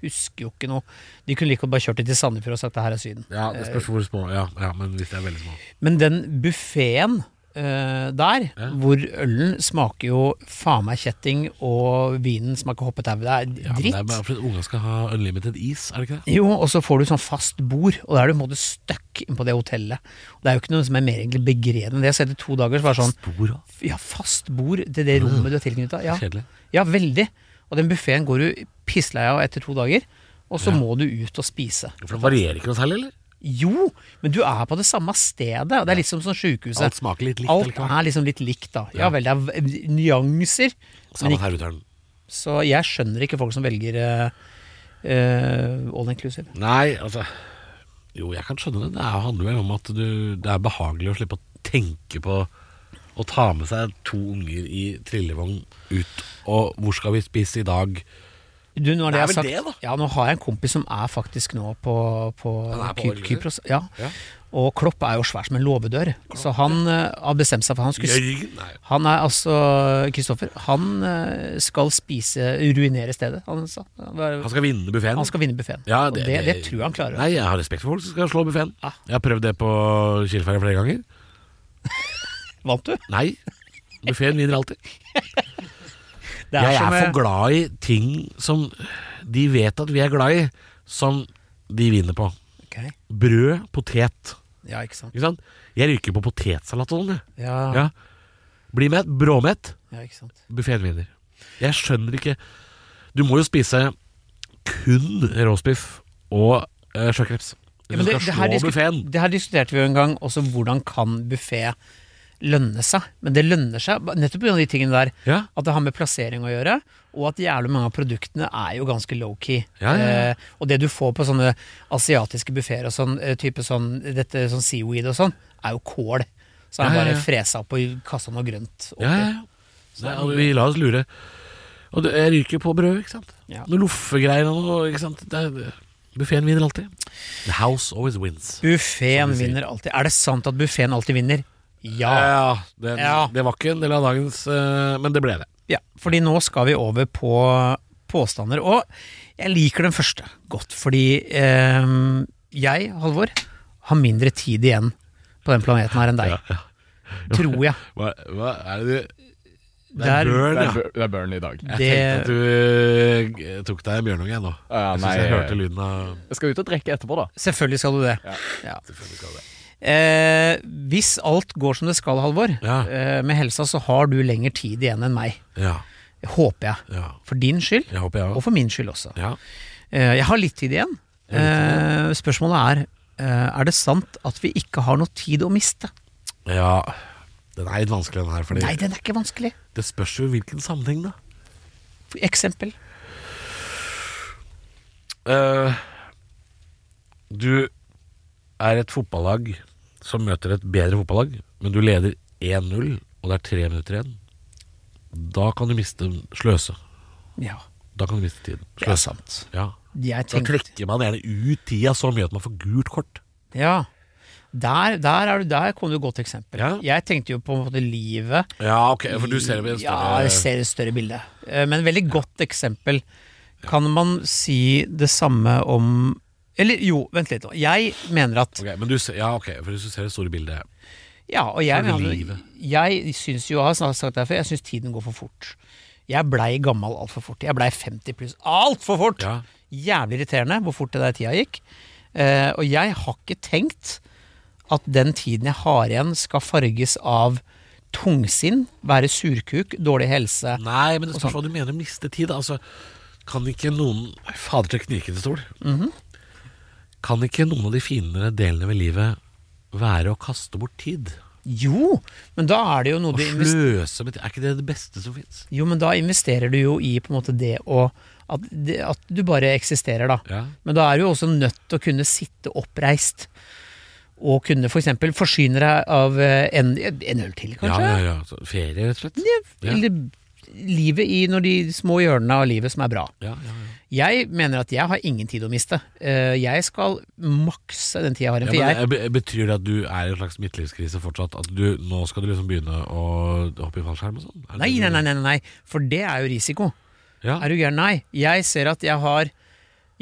[SPEAKER 2] husker jo ikke noe. De kunne like godt bare kjørt dem til Sandefjord og sagt det her er Syden.
[SPEAKER 3] Ja, det spørs hvor små. Ja, ja, men hvis de er veldig små.
[SPEAKER 2] Men den buffeen der,
[SPEAKER 3] Ja.
[SPEAKER 2] hvor ølen smaker jo faen meg kjetting, og vinen smaker hoppetau. Det er
[SPEAKER 3] Ja, men
[SPEAKER 2] dritt.
[SPEAKER 3] Det er bare fordi unga skal ha unlimited is, er det ikke det?
[SPEAKER 2] Jo, og så får du sånn fast bord, og da er du på en måte stuck inn på det hotellet. Og det er jo ikke noe som er mer egentlig begredende enn det. Så etter to dager så var det sånn
[SPEAKER 3] Stor og
[SPEAKER 2] Ja, fast bord til det rommet du er tilknytta. Ja.
[SPEAKER 3] kjedelig.
[SPEAKER 2] ja, veldig. Og den buffeen går du pisslei av etter to dager, og så
[SPEAKER 3] Ja.
[SPEAKER 2] må du ut og spise.
[SPEAKER 3] For det varierer ikke noe særlig, eller?
[SPEAKER 2] Jo, men du er på det samme stedet. og Det er litt som sånn sjukehuset.
[SPEAKER 3] Alt smaker litt likt.
[SPEAKER 2] Alt
[SPEAKER 3] eller hva?
[SPEAKER 2] er liksom litt likt, da. Ja
[SPEAKER 3] Ja.
[SPEAKER 2] vel, det er v- eh, nyanser. Men
[SPEAKER 3] Samme
[SPEAKER 2] ikke,
[SPEAKER 3] her ute er den.
[SPEAKER 2] så jeg skjønner ikke folk som velger eh, eh, all inclusive.
[SPEAKER 3] Nei, altså Jo, jeg kan skjønne det. Det er- handler vel om at du, det er behagelig å slippe å tenke på å ta med seg to unger i trillevogn ut, og hvor skal vi spise i dag?
[SPEAKER 2] Du, nå har
[SPEAKER 3] Det er
[SPEAKER 2] jeg
[SPEAKER 3] vel
[SPEAKER 2] sagt,
[SPEAKER 3] det, da.
[SPEAKER 2] Ja, nå har jeg en kompis som er faktisk nå på, på,
[SPEAKER 3] Han er på
[SPEAKER 2] Ky-
[SPEAKER 3] Orgeløy.
[SPEAKER 2] Kypros. Ja.
[SPEAKER 3] Ja.
[SPEAKER 2] Og Klopp er jo svær som en låvedør, så han eh, har bestemt seg for han skulle
[SPEAKER 3] Jørgen? Nei.
[SPEAKER 2] Han er altså Kristoffer, han eh, skal spise ruinere stedet, han sa. Han var-
[SPEAKER 3] Han skal vinne buffeen.
[SPEAKER 2] Han skal vinne buffeen.
[SPEAKER 3] Ja,
[SPEAKER 2] det,
[SPEAKER 3] det-
[SPEAKER 2] og det, det
[SPEAKER 3] det-
[SPEAKER 2] tror jeg han klarer.
[SPEAKER 3] Nei, jeg har respekt for folk som skal slå buffeen.
[SPEAKER 2] Ja.
[SPEAKER 3] Jeg har prøvd det på Kilferja flere ganger.
[SPEAKER 2] Vant du?
[SPEAKER 3] Nei. Buffeen vinner alltid.
[SPEAKER 2] Det
[SPEAKER 3] jeg
[SPEAKER 2] som,
[SPEAKER 3] er
[SPEAKER 2] eh,
[SPEAKER 3] for glad i ting som de vet at vi er glad i, som de vinner på.
[SPEAKER 2] ok.
[SPEAKER 3] Brød, potet.
[SPEAKER 2] Ja, ikke sant.
[SPEAKER 3] Ikke sant? Jeg ryker på potetsalat og sånn, jeg.
[SPEAKER 2] Ja, ja.
[SPEAKER 3] Ja. Bli mett, bråmett,
[SPEAKER 2] ikke sant.
[SPEAKER 3] buffeen vinner. Jeg skjønner ikke Du må jo spise kun råsbiff og uh, sjøkreps.
[SPEAKER 2] Ja,
[SPEAKER 3] Hvis
[SPEAKER 2] men
[SPEAKER 3] du
[SPEAKER 2] det,
[SPEAKER 3] skal
[SPEAKER 2] det, her
[SPEAKER 3] slå
[SPEAKER 2] disku-
[SPEAKER 3] buffeen.
[SPEAKER 2] det her diskuterte vi jo en gang, også hvordan kan buffé lønne seg? Men det lønner seg ba- nettopp pga. de tingene der.
[SPEAKER 3] Ja.
[SPEAKER 2] At det har med plassering å gjøre, og at jævlig mange av produktene er jo ganske low-key.
[SPEAKER 3] Ja, ja, ja.
[SPEAKER 2] Eh, og det du får på sånne asiatiske buffeer og sånn, eh, type sånn, dette, sånn seaweed og sånn, er jo kål. Så er
[SPEAKER 3] Ja, ja,
[SPEAKER 2] bare
[SPEAKER 3] ja.
[SPEAKER 2] fresa opp og kasta noe grønt oppi.
[SPEAKER 3] Ja, ja, ja. Nei, og vi lar oss lure. Og det- jeg ryker på brød, ikke sant.
[SPEAKER 2] Ja.
[SPEAKER 3] Noe loffegreier og noe, ikke sant. Det er- Buffeen vinner alltid. The house always wins.
[SPEAKER 2] Buffeen
[SPEAKER 3] Som du sier. Eh.
[SPEAKER 2] vinner alltid. Er det sant at buffeen alltid vinner? Ja.
[SPEAKER 3] Ja, den,
[SPEAKER 2] Ja.
[SPEAKER 3] Det var ikke en del av dagens, eh, men det ble det.
[SPEAKER 2] ja. Fordi nå skal vi over på påstander. Og jeg liker den første godt, fordi eh, jeg, Halvor, har mindre tid igjen på den planeten her enn deg. Tror jeg.
[SPEAKER 3] Hva, hva er det du *laughs* Det
[SPEAKER 2] Der-
[SPEAKER 3] er burn,
[SPEAKER 1] Det
[SPEAKER 3] ja.
[SPEAKER 1] er, bur- det er burn i dag.
[SPEAKER 3] Jeg
[SPEAKER 2] Det-
[SPEAKER 3] tenkte at du eh, tok deg en bjørnunge nå.
[SPEAKER 1] Ja, ja,
[SPEAKER 3] jeg
[SPEAKER 1] nei,
[SPEAKER 3] syns jeg
[SPEAKER 1] eh,
[SPEAKER 3] hørte lyden av
[SPEAKER 1] Jeg skal ut og drikke etterpå, da.
[SPEAKER 2] Selvfølgelig skal du det.
[SPEAKER 1] Ja.
[SPEAKER 2] Ja.
[SPEAKER 3] Selvfølgelig skal det.
[SPEAKER 2] Eh, hvis alt går som det skal, Halvor,
[SPEAKER 3] Ja.
[SPEAKER 2] eh, med helsa, så har du lengre tid igjen enn meg.
[SPEAKER 3] Ja,
[SPEAKER 2] Håper jeg.
[SPEAKER 3] ja.
[SPEAKER 2] For din skyld,
[SPEAKER 3] Jeg håper jeg
[SPEAKER 2] og
[SPEAKER 3] òg.
[SPEAKER 2] for min skyld også.
[SPEAKER 3] Ja.
[SPEAKER 2] Eh, jeg har litt tid igjen.
[SPEAKER 3] Jeg har litt
[SPEAKER 2] Eh, spørsmålet er eh, Er det sant at vi ikke har noe tid å miste?
[SPEAKER 3] ja. Den er litt vanskelig, den her. Fordi
[SPEAKER 2] Nei, den er ikke vanskelig.
[SPEAKER 3] det spørs jo i hvilken sammenheng, da.
[SPEAKER 2] For eksempel.
[SPEAKER 3] Eh, du er et fotballag som møter et bedre fotballag, men du leder 1-0, og det er tre minutter igjen. Da kan du miste sløse.
[SPEAKER 2] Ja,
[SPEAKER 3] Da kan du miste tiden.
[SPEAKER 2] det er
[SPEAKER 3] Sløse.
[SPEAKER 2] sant.
[SPEAKER 3] Ja.
[SPEAKER 2] Jeg
[SPEAKER 3] Da
[SPEAKER 2] tenkte
[SPEAKER 3] trekker man gjerne ut tida så mye at man får gult kort.
[SPEAKER 2] Ja. Der, der, er du, der kom det et godt eksempel.
[SPEAKER 3] Ja.
[SPEAKER 2] Jeg tenkte jo på en måte livet
[SPEAKER 3] Ja, ok, for du ser det med en
[SPEAKER 2] Ja,
[SPEAKER 3] større
[SPEAKER 2] jeg ser et større bilde. Eh, Men veldig godt eksempel. Kan man si det samme om Eller jo, vent litt. nå. Jeg mener at
[SPEAKER 3] Ok, men du ser, ja, ok, for hvis du ser det store bildet
[SPEAKER 2] Ja, og jeg,
[SPEAKER 3] For
[SPEAKER 2] mener,
[SPEAKER 3] livet.
[SPEAKER 2] jeg syns jo, jeg har snart sagt det her før, jeg syns tiden går for fort. Jeg blei gammel altfor fort. Jeg blei 50 pluss altfor fort!
[SPEAKER 3] Ja.
[SPEAKER 2] Jævlig irriterende hvor fort det der tida gikk. Eh, og jeg har ikke tenkt at den tiden jeg har igjen, skal farges av tungsinn, være surkuk, dårlig helse.
[SPEAKER 3] Nei, men det
[SPEAKER 2] sånn.
[SPEAKER 3] spørs hva du mener miste tid da. Altså, kan ikke noen Fader til knikende stol
[SPEAKER 2] Mhm.
[SPEAKER 3] Kan ikke noen av de finere delene ved livet Være å kaste bort tid
[SPEAKER 2] Jo, men da er det jo noe
[SPEAKER 3] Og
[SPEAKER 2] du investerer
[SPEAKER 3] sløse med tid Er ikke det det beste som finnes?
[SPEAKER 2] Jo, men da investerer du jo i på en måte det å At, det, at du bare eksisterer, da.
[SPEAKER 3] Ja,
[SPEAKER 2] Men da er du jo også nødt til å kunne sitte oppreist. Og kunne f.eks. For forsyne deg av eh, en, en øl til,
[SPEAKER 3] ja,
[SPEAKER 2] kanskje.
[SPEAKER 3] ja, ja. Så, Ferie rett og slett ja.
[SPEAKER 2] Eller livet i når de små hjørnene av livet som er bra.
[SPEAKER 3] ja, ja, ja.
[SPEAKER 2] Jeg mener at jeg har ingen tid å miste. Eh, Jeg skal makse den tida jeg har
[SPEAKER 3] Ja,
[SPEAKER 2] igjen. For jeg
[SPEAKER 3] men, eh, be- Betyr det at du er i en slags midtlivskrise fortsatt At du, nå skal du liksom begynne å hoppe i fallskjerm og sånn? Er det
[SPEAKER 2] Nei,
[SPEAKER 3] det
[SPEAKER 2] nei,
[SPEAKER 3] du-
[SPEAKER 2] nei, nei, nei, for det er jo risiko.
[SPEAKER 3] Ja.
[SPEAKER 2] Er du gæren? Nei. Jeg ser at jeg har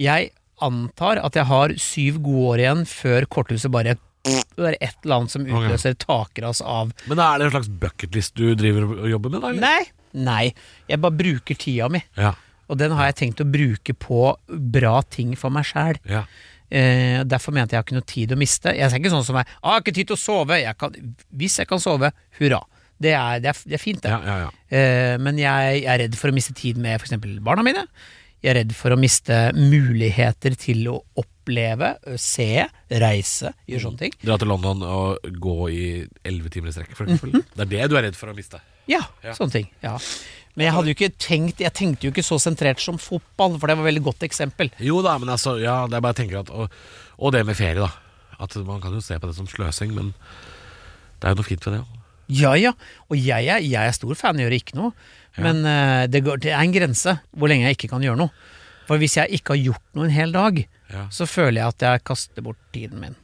[SPEAKER 2] Jeg antar at jeg har syv gode år igjen før korthuset bare Det er et eller annet som utløser takras av
[SPEAKER 3] Men er det en slags bucketlist du driver og jobber med da? eller?
[SPEAKER 2] Nei! Nei. Jeg bare bruker tida mi.
[SPEAKER 3] Ja,
[SPEAKER 2] Og den har jeg tenkt å bruke på bra ting for meg sjæl.
[SPEAKER 3] ja
[SPEAKER 2] Eh, derfor mente jeg har ikke noe tid å miste. Jeg er ikke sånn som jeg ah, 'Har ikke tid til å sove'. Jeg kan, hvis jeg kan sove, hurra. Det er, det er, det er fint, det.
[SPEAKER 3] Ja, ja, ja.
[SPEAKER 2] Eh, Men jeg er redd for å miste tid med f.eks. barna mine. Jeg er redd for å miste muligheter til å oppleve, ø, se, reise, gjøre sånne ting.
[SPEAKER 3] Dra til London og gå i elleve timer i strekk, for eksempel. Det er det du er redd for å miste.
[SPEAKER 2] Ja, sånne ting. Ja. Men jeg hadde jo ikke tenkt Jeg tenkte jo ikke så sentrert som fotball, for det var et veldig godt eksempel.
[SPEAKER 3] Jo da, men altså ja, det er bare jeg tenker at og, og det med ferie, da. At Man kan jo se på det som sløsing, men det er jo noe fint ved det òg.
[SPEAKER 2] Ja ja, og jeg er, jeg er stor fan, gjør ikke noe. Men eh, det, går, det er en grense hvor lenge jeg ikke kan gjøre noe. For hvis jeg ikke har gjort noe en hel dag,
[SPEAKER 3] Ja.
[SPEAKER 2] så føler jeg at jeg kaster bort tiden min.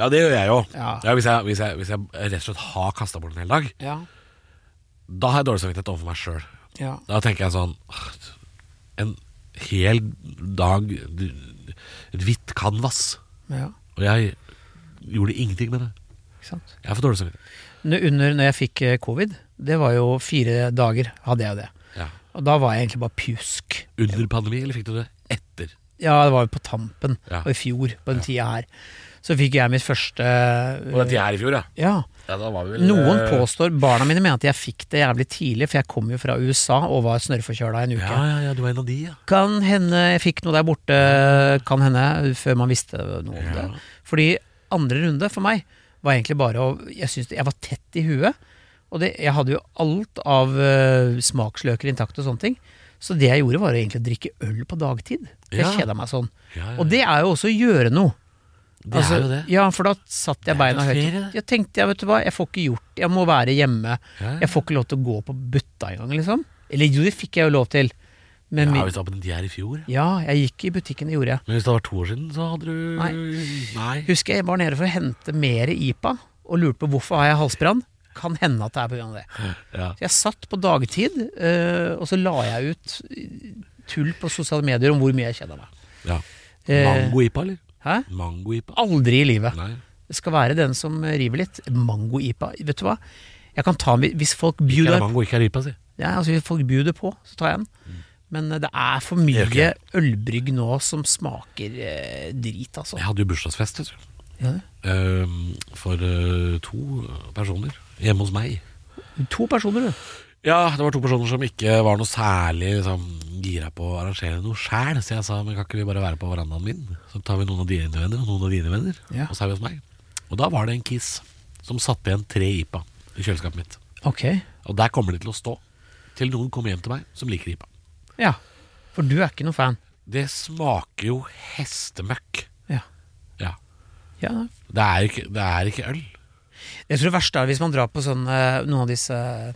[SPEAKER 3] ja, det gjør jeg jo. Ja.
[SPEAKER 2] Ja.
[SPEAKER 3] hvis, jeg- hvis, jeg- hvis jeg rett og slett har kasta bort en hel dag,
[SPEAKER 2] Ja,
[SPEAKER 3] da har jeg dårlig samvittighet overfor meg sjøl.
[SPEAKER 2] ja.
[SPEAKER 3] Da tenker jeg sånn «Åh, En hel dag Et hvitt canvas.
[SPEAKER 2] ja.
[SPEAKER 3] Og jeg gjorde ingenting med det.
[SPEAKER 2] Ikke sant.
[SPEAKER 3] Jeg får dårlig samvittighet.
[SPEAKER 2] Nå- Under når jeg fikk eh, covid, det var jo fire dager, hadde jeg det.
[SPEAKER 3] Ja.
[SPEAKER 2] Og da var jeg egentlig bare pjusk.
[SPEAKER 3] Under pandemi, eller fikk du det etter?
[SPEAKER 2] Ja, det var jo på tampen,
[SPEAKER 3] Ja.
[SPEAKER 2] og i fjor, på den tida her. Så fikk jeg mitt første
[SPEAKER 3] Og dette her i fjor, ja.
[SPEAKER 2] Ja.
[SPEAKER 3] ja da var vi vel,
[SPEAKER 2] Noen
[SPEAKER 3] eh,
[SPEAKER 2] påstår Barna mine mener at jeg fikk det jævlig tidlig, for jeg kom jo fra USA og var snørrforkjøla en uke.
[SPEAKER 3] Ja, ja, ja, du var en av de, ja.
[SPEAKER 2] Kan hende jeg fikk noe der borte, kan hende, før man visste noe om det. Fordi andre runde for meg var egentlig bare å Jeg syntes jeg var tett i huet. Og det, jeg hadde jo alt av eh, smaksløker intakt og sånne ting. Så det jeg gjorde, var å egentlig å drikke øl på dagtid. Jeg
[SPEAKER 3] Ja.
[SPEAKER 2] kjeda meg sånn.
[SPEAKER 3] ja, ja.
[SPEAKER 2] Og det er jo også å gjøre noe. Altså,
[SPEAKER 3] Det er jo det.
[SPEAKER 2] Ja, for da satt
[SPEAKER 3] Det er
[SPEAKER 2] jeg beina
[SPEAKER 3] jo
[SPEAKER 2] høyt.
[SPEAKER 3] ferie, det.
[SPEAKER 2] Jeg tenkte, ja, vet du hva, jeg får ikke gjort Jeg må være hjemme.
[SPEAKER 3] Ja, ja.
[SPEAKER 2] Jeg får ikke lov til å gå på butta engang, liksom. Eller jo, det fikk jeg jo lov til. Men
[SPEAKER 3] ja,
[SPEAKER 2] min,
[SPEAKER 3] hvis det var på den tida her i fjor. ja.
[SPEAKER 2] ja, jeg gikk i butikken, det gjorde jeg.
[SPEAKER 3] Men hvis det var to år siden, så hadde du
[SPEAKER 2] Nei.
[SPEAKER 3] Nei.
[SPEAKER 2] Husker jeg var nede for å hente mer IPA, og lurte på hvorfor har jeg halsbrann. Kan hende at det er pga. det.
[SPEAKER 3] Ja.
[SPEAKER 2] Så jeg satt på dagtid, eh, og så la jeg ut eh, tull på sosiale medier om hvor mye jeg kjeda meg.
[SPEAKER 3] ja.
[SPEAKER 2] Eh,
[SPEAKER 3] Mango-ipa, eller?
[SPEAKER 2] Hæ?
[SPEAKER 3] Mango-ipa?
[SPEAKER 2] Aldri i livet.
[SPEAKER 3] Nei.
[SPEAKER 2] Det skal være den som river litt. Mango-IPA, vet du hva? Jeg kan ta den Hvis folk
[SPEAKER 3] Ikke er det
[SPEAKER 2] bjuder,
[SPEAKER 3] mango, ikke er det ipa, si.
[SPEAKER 2] ja, altså, hvis folk bjuder på, så tar jeg den. Men eh, det er for mye
[SPEAKER 3] Det
[SPEAKER 2] ølbrygg nå som smaker eh, drit, altså.
[SPEAKER 3] Jeg hadde jo bursdagsfest, vet du.
[SPEAKER 2] Ja.
[SPEAKER 3] Eh, for eh, to personer hjemme hos meg.
[SPEAKER 2] To personer, du.
[SPEAKER 3] Ja, det var to personer som ikke var noe særlig liksom, gira på å arrangere noe sjæl. Så jeg sa men kan ikke vi bare være på verandaen min? Så tar vi noen av dine venner og noen av dine venner.
[SPEAKER 2] Ja.
[SPEAKER 3] Og så er vi hos meg. Og da var det en kis som satte igjen tre IPA i kjøleskapet mitt.
[SPEAKER 2] Ok.
[SPEAKER 3] Og der kommer de til å stå til noen kommer hjem til meg som liker IPA.
[SPEAKER 2] Ja. For du er ikke noe fan.
[SPEAKER 3] Det smaker jo hestemøkk.
[SPEAKER 2] Ja.
[SPEAKER 3] Ja.
[SPEAKER 2] ja.
[SPEAKER 3] Det er ikke, det er ikke øl.
[SPEAKER 2] Jeg tror det verste er hvis man drar på sånn, eh, noen av disse eh,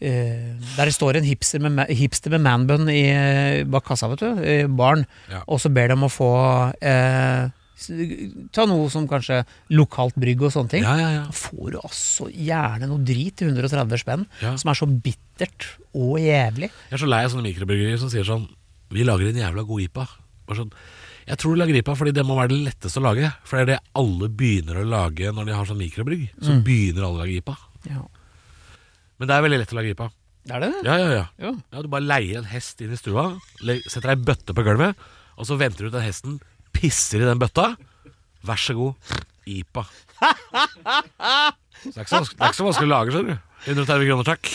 [SPEAKER 2] Der det står en hipster med, ma- hipster med manbun i, eh, bak kassa, vet du, i baren,
[SPEAKER 3] Ja.
[SPEAKER 2] og så ber de om å få eh, s- Ta noe som kanskje lokalt brygg og sånne ting.
[SPEAKER 3] Ja, ja, ja.
[SPEAKER 2] Da får du altså gjerne noe drit til 130 spenn,
[SPEAKER 3] Ja.
[SPEAKER 2] som er så bittert og jævlig.
[SPEAKER 3] Jeg er så lei av sånne mikrobryggerier som sier sånn Vi lager en jævla god IPA. Bare sånn, jeg tror de lager IPA fordi det må være det letteste å lage. For det er det alle begynner å lage når de har sånn mikrobrygg. Så
[SPEAKER 2] Mm.
[SPEAKER 3] begynner alle å lage IPA.
[SPEAKER 2] Ja.
[SPEAKER 3] Men det er veldig lett å lage IPA.
[SPEAKER 2] Er det det?
[SPEAKER 3] Ja, ja, ja.
[SPEAKER 2] Jo.
[SPEAKER 3] ja Du bare leier en hest inn i stua, le- setter ei bøtte på gulvet, og så venter du til hesten pisser i den bøtta. Vær så god, IPA. Så det er ikke så vanskelig, det er ikke så vanskelig å lage, skjønner du. 130 kroner, takk.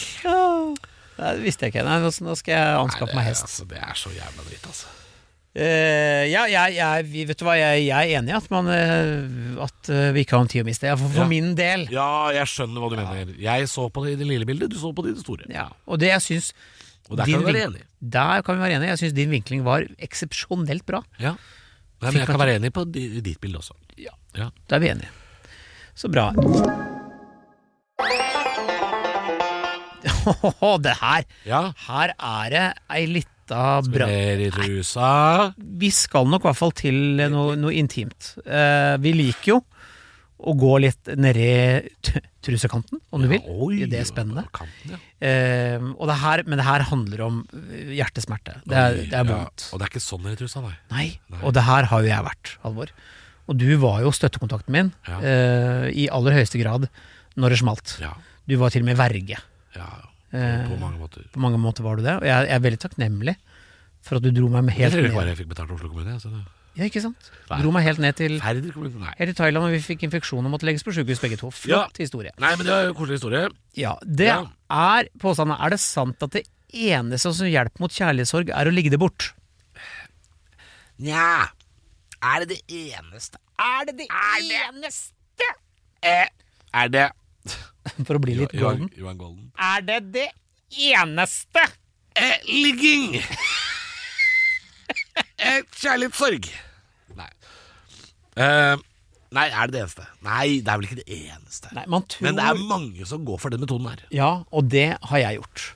[SPEAKER 2] Nei, det visste jeg ikke. Nei, nå nå skal jeg anskaffe meg hest.
[SPEAKER 3] Altså, det er så jævla dritt, altså.
[SPEAKER 2] Eh, ja, jeg, jeg, vi- vet du hva, jeg, jeg er enig i at, man, eh, at eh, vi ikke har en tid å miste. Ja, For, for
[SPEAKER 3] Ja.
[SPEAKER 2] min del.
[SPEAKER 3] Ja, jeg skjønner hva du mener. Jeg så på det i det lille bildet, du så på det i det store.
[SPEAKER 2] Ja, og det jeg syns
[SPEAKER 3] Og der kan
[SPEAKER 2] din
[SPEAKER 3] du være
[SPEAKER 2] vink-
[SPEAKER 3] enig.
[SPEAKER 2] Der kan vi være enige. Jeg syns din vinkling var eksepsjonelt bra.
[SPEAKER 3] Ja. Nei,
[SPEAKER 2] Fikk
[SPEAKER 3] men jeg
[SPEAKER 2] man
[SPEAKER 3] kan være enig på di- ditt bilde også.
[SPEAKER 2] Ja.
[SPEAKER 3] Ja.
[SPEAKER 2] Da er vi enige. Så bra. *laughs* Åhåhå, det her
[SPEAKER 3] ja.
[SPEAKER 2] Her er det ei lita bra...
[SPEAKER 3] Mer i trusa.
[SPEAKER 2] Vi skal nok i hvert fall til noe, noe intimt. Eh, vi liker jo å gå litt nedi t- trusekanten, om du vil.
[SPEAKER 3] Ja, oi,
[SPEAKER 2] det er spennende.
[SPEAKER 3] på Kanten, ja.
[SPEAKER 2] Eh, og det her, men det her handler om eh, hjertesmerte. Det er,
[SPEAKER 3] Oi,
[SPEAKER 2] det er
[SPEAKER 3] ja.
[SPEAKER 2] vondt.
[SPEAKER 3] Og det er ikke sånn nede i trusa, nei.
[SPEAKER 2] Nei.
[SPEAKER 3] Nei.
[SPEAKER 2] Og det her har jo jeg vært, Halvor. Og du var jo støttekontakten min
[SPEAKER 3] Ja.
[SPEAKER 2] eh, i aller høyeste grad når det smalt.
[SPEAKER 3] Ja.
[SPEAKER 2] Du var til og med verge.
[SPEAKER 3] ja.
[SPEAKER 2] Eh,
[SPEAKER 3] På mange måter.
[SPEAKER 2] På mange måter var du det. Og jeg, jeg er veldig takknemlig for at du dro meg med
[SPEAKER 3] Jeg
[SPEAKER 2] helt
[SPEAKER 3] tror ikke
[SPEAKER 2] ned.
[SPEAKER 3] bare jeg fikk betalt av Oslo kommune. jeg, Så det.
[SPEAKER 2] Ja, ikke sant?
[SPEAKER 3] Nei.
[SPEAKER 2] Dro meg helt ned til
[SPEAKER 3] Færder kommune, nei.
[SPEAKER 2] helt til Thailand, og vi fikk infeksjon og måtte legges på sykehus begge to. Flott historie.
[SPEAKER 3] Nei, men det var jo en koselig historie.
[SPEAKER 2] Ja, det
[SPEAKER 3] Ja.
[SPEAKER 2] er påstanden. Er det sant at det eneste som hjelper mot kjærlighetssorg, er å ligge det bort?
[SPEAKER 3] Nja, er det det eneste? Er det det eneste? Eh, er det
[SPEAKER 2] for å bli litt golden.
[SPEAKER 3] Johan, Johan Golden.
[SPEAKER 2] Er det det eneste?
[SPEAKER 3] ligging! eh, kjærlighetssorg. Nei. Eh, nei, er det det eneste? Nei, det er vel ikke det eneste.
[SPEAKER 2] Nei, man tror
[SPEAKER 3] Men det er mange som går for den metoden her.
[SPEAKER 2] Ja, og det har jeg gjort.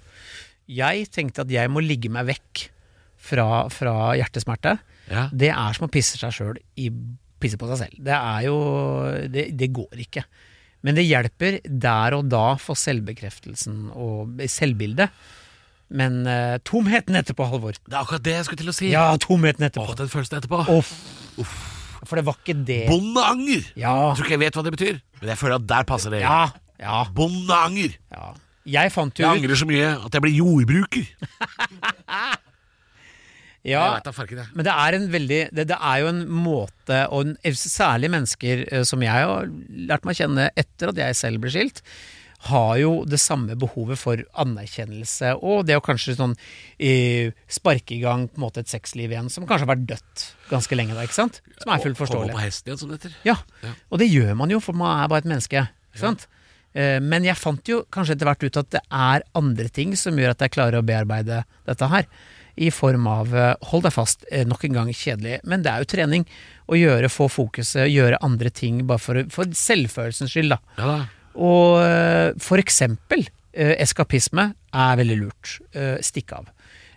[SPEAKER 2] Jeg tenkte at jeg må ligge meg vekk fra, fra hjertesmerte.
[SPEAKER 3] Ja.
[SPEAKER 2] Det er som å pisse seg sjøl i Pisse på seg selv. Det er jo Det, det går ikke. Men det hjelper der og da for selvbekreftelsen og selvbildet. Men eh, tomheten etterpå, Halvor.
[SPEAKER 3] Det er akkurat det jeg skulle til å si.
[SPEAKER 2] Ja, tomheten etterpå.
[SPEAKER 3] Mm. Åh, den følelsen etterpå.
[SPEAKER 2] Uff. For det var ikke det
[SPEAKER 3] Bondeanger!
[SPEAKER 2] Ja.
[SPEAKER 3] Jeg tror ikke jeg vet hva det betyr, men jeg føler at der passer det.
[SPEAKER 2] Ja. Ja.
[SPEAKER 3] Bondeanger.
[SPEAKER 2] ja. Jeg fant jo
[SPEAKER 3] Jeg
[SPEAKER 2] ut
[SPEAKER 3] angrer så mye at jeg ble jordbruker.
[SPEAKER 2] ja,
[SPEAKER 3] Jeg vet da farken, jeg.
[SPEAKER 2] Men det er, en veldig, det, det er jo en måte, og en, særlig mennesker eh, som jeg har lært meg å kjenne etter at jeg selv ble skilt, har jo det samme behovet for anerkjennelse og det å kanskje sånn eh, sparke i gang på en måte et sexliv igjen som kanskje har vært dødt ganske lenge da, ikke sant? Som er fullt
[SPEAKER 3] Komme på
[SPEAKER 2] forståelig.
[SPEAKER 3] hesten igjen, som det heter.
[SPEAKER 2] Ja,
[SPEAKER 3] Ja.
[SPEAKER 2] og det gjør man jo, for man er bare et menneske, ikke sant? Eh, Men jeg fant jo kanskje etter hvert ut at det er andre ting som gjør at jeg klarer å bearbeide dette her. I form av eh, hold deg fast, eh, nok en gang kjedelig, men det er jo trening. Å gjøre, få fokuset, gjøre andre ting bare for, for selvfølelsens skyld, da.
[SPEAKER 3] Ja da.
[SPEAKER 2] Og eh, for eksempel eh, eskapisme er veldig lurt. Eh, Stikk av.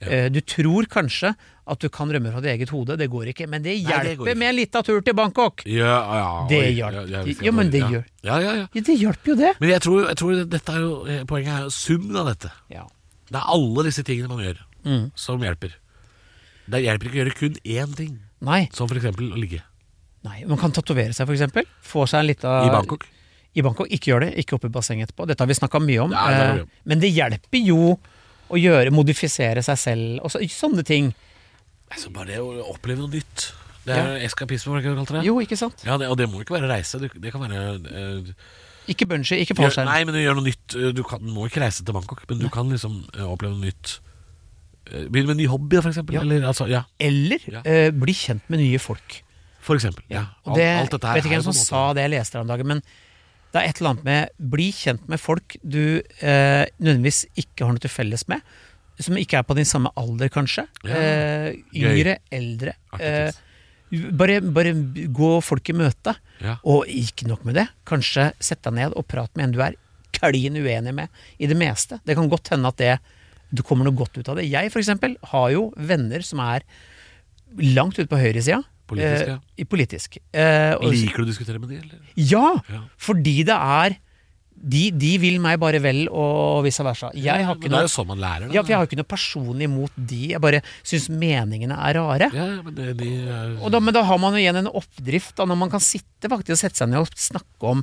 [SPEAKER 2] Eh, Du tror kanskje at du kan rømme fra ditt eget hode, det går ikke. Men det
[SPEAKER 3] Nei,
[SPEAKER 2] hjelper
[SPEAKER 3] det går ikke.
[SPEAKER 2] med en liten tur til Bangkok!
[SPEAKER 3] Ja, ja.
[SPEAKER 2] Det
[SPEAKER 3] oi,
[SPEAKER 2] hjalp.
[SPEAKER 3] ja, jeg
[SPEAKER 2] Jo,
[SPEAKER 3] visste ikke
[SPEAKER 2] men
[SPEAKER 3] at-
[SPEAKER 2] det
[SPEAKER 3] ja.
[SPEAKER 2] gjør.
[SPEAKER 3] Ja, ja, ja.
[SPEAKER 2] Ja, det hjelper jo det.
[SPEAKER 3] Men jeg tror, jeg tror dette er jo, eh, poenget er jo summen av dette.
[SPEAKER 2] Ja.
[SPEAKER 3] Det er alle disse tingene man gjør,
[SPEAKER 2] Mm.
[SPEAKER 3] som hjelper. Det hjelper ikke å gjøre kun én ting,
[SPEAKER 2] Nei.
[SPEAKER 3] som for eksempel å ligge
[SPEAKER 2] Nei, Man kan tatovere seg, f.eks. Få seg en lita
[SPEAKER 3] i Bangkok.
[SPEAKER 2] I Bangkok. Ikke gjør det. Ikke oppe i bassenget etterpå. Dette har vi snakka mye om.
[SPEAKER 3] Ja, det har vi
[SPEAKER 2] eh,
[SPEAKER 3] gjort.
[SPEAKER 2] men det hjelper jo å gjøre, modifisere seg selv og så, sånne ting.
[SPEAKER 3] Altså, bare det å oppleve noe nytt. Det er eskapisme, var det ikke det du kalte det?
[SPEAKER 2] Jo, ikke sant?
[SPEAKER 3] Ja, det, og det må ikke være reise. Det, det kan være eh,
[SPEAKER 2] Ikke bungee, ikke
[SPEAKER 3] gjør,
[SPEAKER 2] fallskjerm.
[SPEAKER 3] Nei, men du gjør noe nytt. Eh, Du kan, du må ikke reise til Bangkok, men du kan liksom eh, oppleve noe nytt. Eh, Begynne med en ny hobby, da, for eksempel.
[SPEAKER 2] Ja.
[SPEAKER 3] Eller, altså, ja.
[SPEAKER 2] Eller
[SPEAKER 3] Ja.
[SPEAKER 2] eh, bli kjent med nye folk.
[SPEAKER 3] For eksempel. Ja.
[SPEAKER 2] Og det,
[SPEAKER 3] alt, alt dette her
[SPEAKER 2] vet ikke
[SPEAKER 3] er
[SPEAKER 2] hvem
[SPEAKER 3] jo
[SPEAKER 2] som
[SPEAKER 3] på en
[SPEAKER 2] sa
[SPEAKER 3] måte-
[SPEAKER 2] det jeg leste her om dagen, men det er et eller annet med bli kjent med folk du eh, nødvendigvis ikke har noe til felles med. Som ikke er på din samme alder, kanskje.
[SPEAKER 3] Ja.
[SPEAKER 2] Eh, yngre, eldre.
[SPEAKER 3] Aktivt.
[SPEAKER 2] Eh, bare, bare gå folk i møte.
[SPEAKER 3] Ja.
[SPEAKER 2] Og ikke nok med det, kanskje sett deg ned og prat med en du er klin uenig med i det meste. Det kan godt hende at det, du kommer noe godt ut av det. Jeg for eksempel har jo venner som er langt ute på høyresida.
[SPEAKER 3] Politisk,
[SPEAKER 2] eh,
[SPEAKER 3] ja.
[SPEAKER 2] i politisk. Eh, og,
[SPEAKER 3] Liker du å diskutere med de, eller?
[SPEAKER 2] ja,
[SPEAKER 3] Ja.
[SPEAKER 2] fordi det er de, de vil meg bare vel, og vice versa. Jeg har
[SPEAKER 3] Men
[SPEAKER 2] ikke
[SPEAKER 3] Det
[SPEAKER 2] noe,
[SPEAKER 3] er jo sånn man lærer, da.
[SPEAKER 2] ja, for jeg har ikke noe personlig imot de, jeg bare syns meningene er rare.
[SPEAKER 3] Ja, ja, men det, de eh, er-
[SPEAKER 2] Og da, men da har man jo igjen en oppdrift da, når man kan sitte faktisk og sette seg ned og snakke om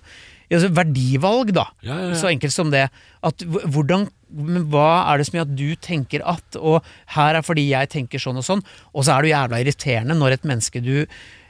[SPEAKER 2] altså, verdivalg, da.
[SPEAKER 3] Ja, ja, ja.
[SPEAKER 2] Så enkelt som det. At, hv- hvordan, men hva er det som gjør at du tenker at, og her er fordi jeg tenker sånn og sånn, og så er det jo jævla irriterende når et menneske du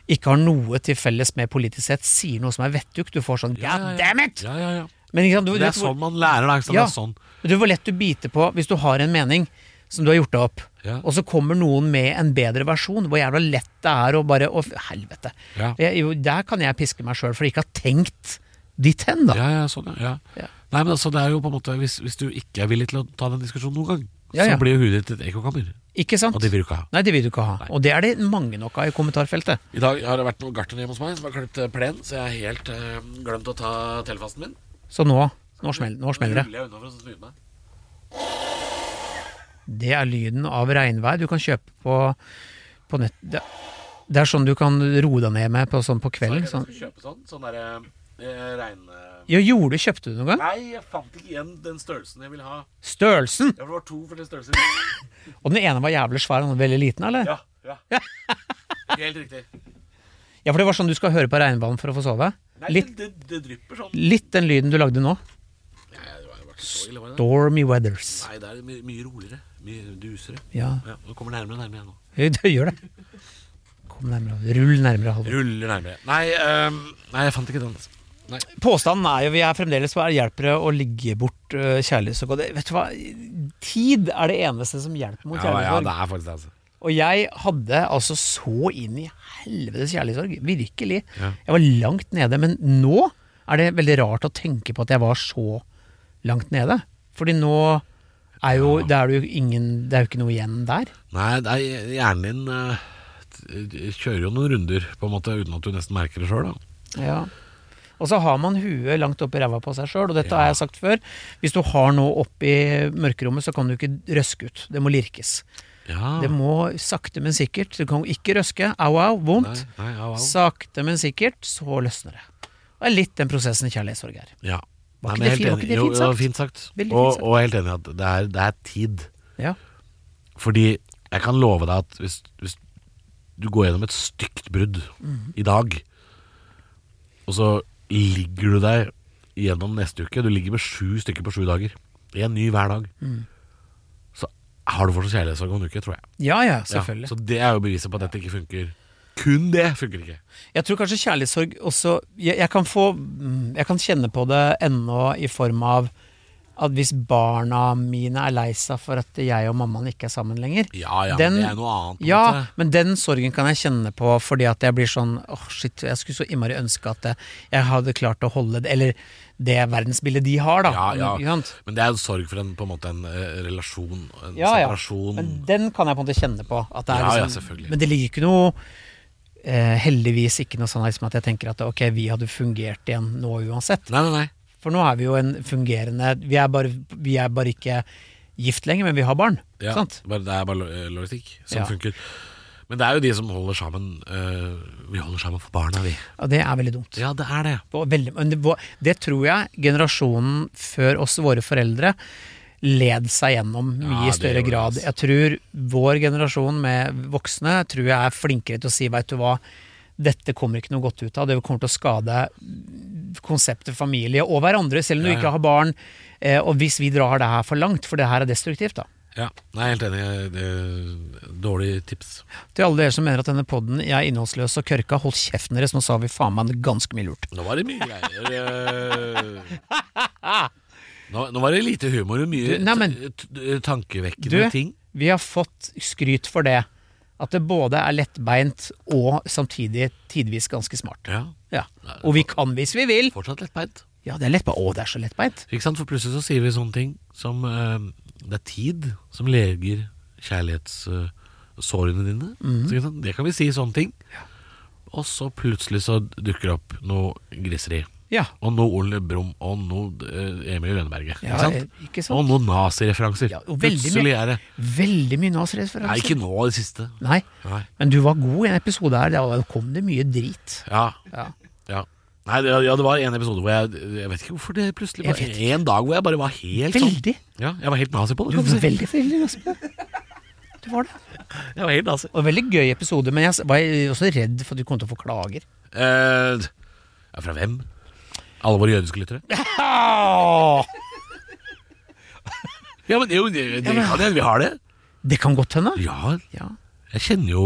[SPEAKER 2] ikke har noe til felles med politisk sett, sier noe som er vettug. Du får sånn
[SPEAKER 3] Ja, ja, ja.
[SPEAKER 2] God damn it!
[SPEAKER 3] Ja, ja, ja.
[SPEAKER 2] Men ikke sant, du,
[SPEAKER 3] Det er
[SPEAKER 2] du,
[SPEAKER 3] sånn man lærer, da. Ikke sant?
[SPEAKER 2] Ja.
[SPEAKER 3] Det er sånn.
[SPEAKER 2] Vet du hvor lett du biter på hvis du har en mening som du har gjort deg opp,
[SPEAKER 3] Ja.
[SPEAKER 2] og så kommer noen med en bedre versjon? Hvor jævla lett det er å bare Å, helvete.
[SPEAKER 3] Ja.
[SPEAKER 2] Jeg, jo, der kan jeg piske meg sjøl for ikke å ha tenkt dit hen, da.
[SPEAKER 3] Ja, ja, sånn, ja.
[SPEAKER 2] Ja.
[SPEAKER 3] ja. Nei, men altså, det er jo på en måte Hvis, hvis du ikke er villig til å ta den diskusjonen noen gang,
[SPEAKER 2] Ja, ja.
[SPEAKER 3] så blir jo huet ditt et ekkokammer.
[SPEAKER 2] Ikke sant?
[SPEAKER 3] Og det vil du ikke ha.
[SPEAKER 2] Nei, det vil du ikke ha.
[SPEAKER 3] Nei.
[SPEAKER 2] Og det er det mange nok av i kommentarfeltet.
[SPEAKER 3] I dag har det vært noen gartner hjemme hos meg som har klippet eh, plen, så jeg har helt eh, glemt å ta telefasten min.
[SPEAKER 2] Så nå nå, smell, nå smeller det.
[SPEAKER 3] ruller jeg unna for å snu meg.
[SPEAKER 2] Det er lyden av regnvær du kan kjøpe på, på nett. Det, det er sånn du kan roe deg ned med på, sånn på
[SPEAKER 3] Så
[SPEAKER 2] kvelden.
[SPEAKER 3] jeg
[SPEAKER 2] Sånn.
[SPEAKER 3] skal kjøpe sånn. Sånn derre eh, regn... eh,
[SPEAKER 2] Ja, gjorde du? Kjøpte du noen gang?
[SPEAKER 3] Nei, jeg fant ikke igjen den størrelsen jeg ville ha.
[SPEAKER 2] Størrelsen!
[SPEAKER 3] Ja, for det var to forskjellige størrelser.
[SPEAKER 2] Og den ene var jævlig svær og den var veldig liten, eller?
[SPEAKER 3] Ja, ja. Helt riktig.
[SPEAKER 2] Ja, for det var sånn du skal høre på regnvann for å få sove?
[SPEAKER 3] Nei,
[SPEAKER 2] Litt,
[SPEAKER 3] det, det, det drypper sånn.
[SPEAKER 2] litt den lyden du lagde nå.
[SPEAKER 3] Nei, det var, det var ikke så ille, var det?
[SPEAKER 2] Stormy weathers.
[SPEAKER 3] Nei, det er mye, mye roligere. Mye dusere.
[SPEAKER 2] Ja, *laughs*
[SPEAKER 3] Ja, nå kommer nærmere og nærmere igjen nå.
[SPEAKER 2] det gjør det. Kom nærmere. Rull nærmere, Halvor.
[SPEAKER 3] Ruller nærmere. Nei, ehm, nei jeg fant ikke den. Nei.
[SPEAKER 2] Påstanden er jo vi er fremdeles på hjelper det å ligge bort øh, kjærlighetssorg. Og det- Vet du hva? Tid er det eneste som hjelper mot
[SPEAKER 3] Ja, ja,
[SPEAKER 2] kjærlighetssorg.
[SPEAKER 3] det er faktisk det, altså.
[SPEAKER 2] Og jeg hadde altså så inn i helvetes kjærlighetssorg. Virkelig.
[SPEAKER 3] Ja.
[SPEAKER 2] Jeg var langt nede. Men nå er det veldig rart å tenke på at jeg var så langt nede. Fordi nå er jo, det er det jo ingen Det er jo ikke noe igjen der.
[SPEAKER 3] Nei, det er, hjernen din eh, t- t- kjører jo noen runder, på en måte, uten at du nesten merker det sjøl.
[SPEAKER 2] Ja. Og så har man huet langt opp i ræva på seg sjøl, og dette har jeg sagt før. Hvis du har noe oppi mørkerommet, så kan du ikke røske ut. Det må lirkes.
[SPEAKER 3] Ja.
[SPEAKER 2] Det må sakte, men sikkert. Du kan jo ikke røske. Au, au,
[SPEAKER 3] Nei,
[SPEAKER 2] vondt.
[SPEAKER 3] nei, au, au.
[SPEAKER 2] Sakte, men sikkert, så løsner det. Det er litt den prosessen kjærlighetssorg er.
[SPEAKER 3] Ja.
[SPEAKER 2] Var
[SPEAKER 3] Nei,
[SPEAKER 2] ikke
[SPEAKER 3] men jeg er
[SPEAKER 2] det fi-
[SPEAKER 3] helt
[SPEAKER 2] var ikke
[SPEAKER 3] enig.
[SPEAKER 2] det
[SPEAKER 3] Jo,
[SPEAKER 2] fint
[SPEAKER 3] det var
[SPEAKER 2] sagt?
[SPEAKER 3] fint sagt.
[SPEAKER 2] Veldig fint
[SPEAKER 3] Og,
[SPEAKER 2] sagt.
[SPEAKER 3] og jeg er helt enig i at det er, det er tid.
[SPEAKER 2] Ja.
[SPEAKER 3] Fordi jeg kan love deg at hvis, hvis du går gjennom et stygt brudd
[SPEAKER 2] Mhm.
[SPEAKER 3] i dag, og så ligger du der gjennom neste uke Du ligger med sju stykker på sju dager. En ny hver dag.
[SPEAKER 2] Mm.
[SPEAKER 3] Så har du fortsatt kjærlighetssorg om en uke, tror jeg.
[SPEAKER 2] ja ja,
[SPEAKER 3] Ja,
[SPEAKER 2] selvfølgelig.
[SPEAKER 3] så det er jo beviset på at dette ikke funker. Kun det funker ikke.
[SPEAKER 2] Jeg tror kanskje kjærlighetssorg også jeg, jeg kan få mm, Jeg kan kjenne på det ennå i form av at hvis barna mine er lei seg for at jeg og mammaen ikke er sammen lenger
[SPEAKER 3] Ja ja,
[SPEAKER 2] Den-
[SPEAKER 3] men det er noe annet. på en
[SPEAKER 2] Ja,
[SPEAKER 3] måte.
[SPEAKER 2] men den sorgen kan jeg kjenne på fordi at jeg blir sånn åh shit, jeg skulle så innmari ønske at jeg, jeg hadde klart å holde det Eller det verdensbildet de har, da.
[SPEAKER 3] Ja, ja.
[SPEAKER 2] Ikke sant?
[SPEAKER 3] Men det er jo sorg for en, på en måte en eh, relasjon, en
[SPEAKER 2] Ja, ja.
[SPEAKER 3] separasjon.
[SPEAKER 2] Men den kan jeg på en måte kjenne på. At det er
[SPEAKER 3] Mm. Ja, ja,
[SPEAKER 2] liksom,
[SPEAKER 3] selvfølgelig.
[SPEAKER 2] Men det ligger ikke noe eh, Heldigvis ikke noe sånn her som at jeg tenker at ok, vi hadde fungert igjen nå uansett.
[SPEAKER 3] Nei, nei, nei.
[SPEAKER 2] For nå er vi jo en fungerende Vi er bare, vi er bare ikke gift lenger, men vi har barn.
[SPEAKER 3] Ja,
[SPEAKER 2] Sant?
[SPEAKER 3] Bare, det er bare lo- eh, logistikk som
[SPEAKER 2] Ja.
[SPEAKER 3] funker. Men det er jo de som holder sammen. eh, vi holder sammen for barna, vi.
[SPEAKER 2] Og det er veldig dumt.
[SPEAKER 3] Ja, det er det.
[SPEAKER 2] Og Veldig, men det, var- det tror jeg generasjonen før oss, våre foreldre, led seg gjennom mye
[SPEAKER 3] Ja,
[SPEAKER 2] i
[SPEAKER 3] det gjorde
[SPEAKER 2] større
[SPEAKER 3] det,
[SPEAKER 2] grad.
[SPEAKER 3] altså.
[SPEAKER 2] Jeg tror vår generasjon med voksne tror jeg er flinkere til å si veit du hva, dette kommer ikke noe godt ut av, det kommer til å skade konseptet familie og hverandre, selv om
[SPEAKER 3] Ja,
[SPEAKER 2] du
[SPEAKER 3] ja.
[SPEAKER 2] ikke har barn. Eh, og hvis vi drar det her for langt, for det her er destruktivt, da.
[SPEAKER 3] Ja, nei, jeg er helt enig. Det, er dårlig tips.
[SPEAKER 2] Til alle dere som mener at denne podden er innholdsløs og kørka, hold kjeften deres, nå sa vi faen meg ganske mye lurt.
[SPEAKER 3] Nå var det mye greier. eh. Nå, nå var det lite humor og
[SPEAKER 2] Du,
[SPEAKER 3] mye
[SPEAKER 2] nei, men-
[SPEAKER 3] t- t- tankevekkende
[SPEAKER 2] Du-
[SPEAKER 3] ting.
[SPEAKER 2] Vi har fått skryt for det. At det både er lettbeint og samtidig tidvis ganske smart.
[SPEAKER 3] Ja,
[SPEAKER 2] Ja. Og vi kan hvis vi vil.
[SPEAKER 3] Fortsatt lettbeint.
[SPEAKER 2] Ja, det er lettbeint. Å, det er så lettbeint.
[SPEAKER 3] Ikke sant? For plutselig så sier vi sånne ting som eh, Det er tid som leger kjærlighetssårene dine.
[SPEAKER 2] Mm.
[SPEAKER 3] Så, ikke sant? Det kan vi si sånne ting. Og så plutselig så dukker det opp noe griseri.
[SPEAKER 2] Ja.
[SPEAKER 3] Og noe Ole Brumm, og noe eh, Emil Lønneberget.
[SPEAKER 2] Ja,
[SPEAKER 3] ikke
[SPEAKER 2] eh,
[SPEAKER 3] sant?
[SPEAKER 2] ikke sant?
[SPEAKER 3] Og noen nazireferanser.
[SPEAKER 2] Ja, og veldig
[SPEAKER 3] plutselig er det
[SPEAKER 2] Veldig mye Nas-referanser.
[SPEAKER 3] Nei, ikke nå i det siste.
[SPEAKER 2] Nei,
[SPEAKER 3] Nei.
[SPEAKER 2] men du var god i en episode her. Da kom det mye drit.
[SPEAKER 3] Ja.
[SPEAKER 2] Ja.
[SPEAKER 3] ja. Nei, det, ja, det var en episode hvor jeg Jeg vet ikke hvorfor det plutselig
[SPEAKER 2] Jeg
[SPEAKER 3] var
[SPEAKER 2] vet
[SPEAKER 3] En dag hvor jeg bare var helt sånn.
[SPEAKER 2] Veldig.
[SPEAKER 3] Ja, jeg var helt nazi på det.
[SPEAKER 2] Du
[SPEAKER 3] kan du si.
[SPEAKER 2] var veldig veldig nazi. Du var det.
[SPEAKER 3] Jeg var helt nazi.
[SPEAKER 2] Og veldig gøy episode, men jeg var også redd for at du kom til å få klager.
[SPEAKER 3] Eh, ja, fra hvem? Alle våre jødiske lyttere? Ah! Ja, men jo, det, det kan jeg, vi har det.
[SPEAKER 2] Det kan godt hende.
[SPEAKER 3] Ja,
[SPEAKER 2] Ja.
[SPEAKER 3] jeg kjenner jo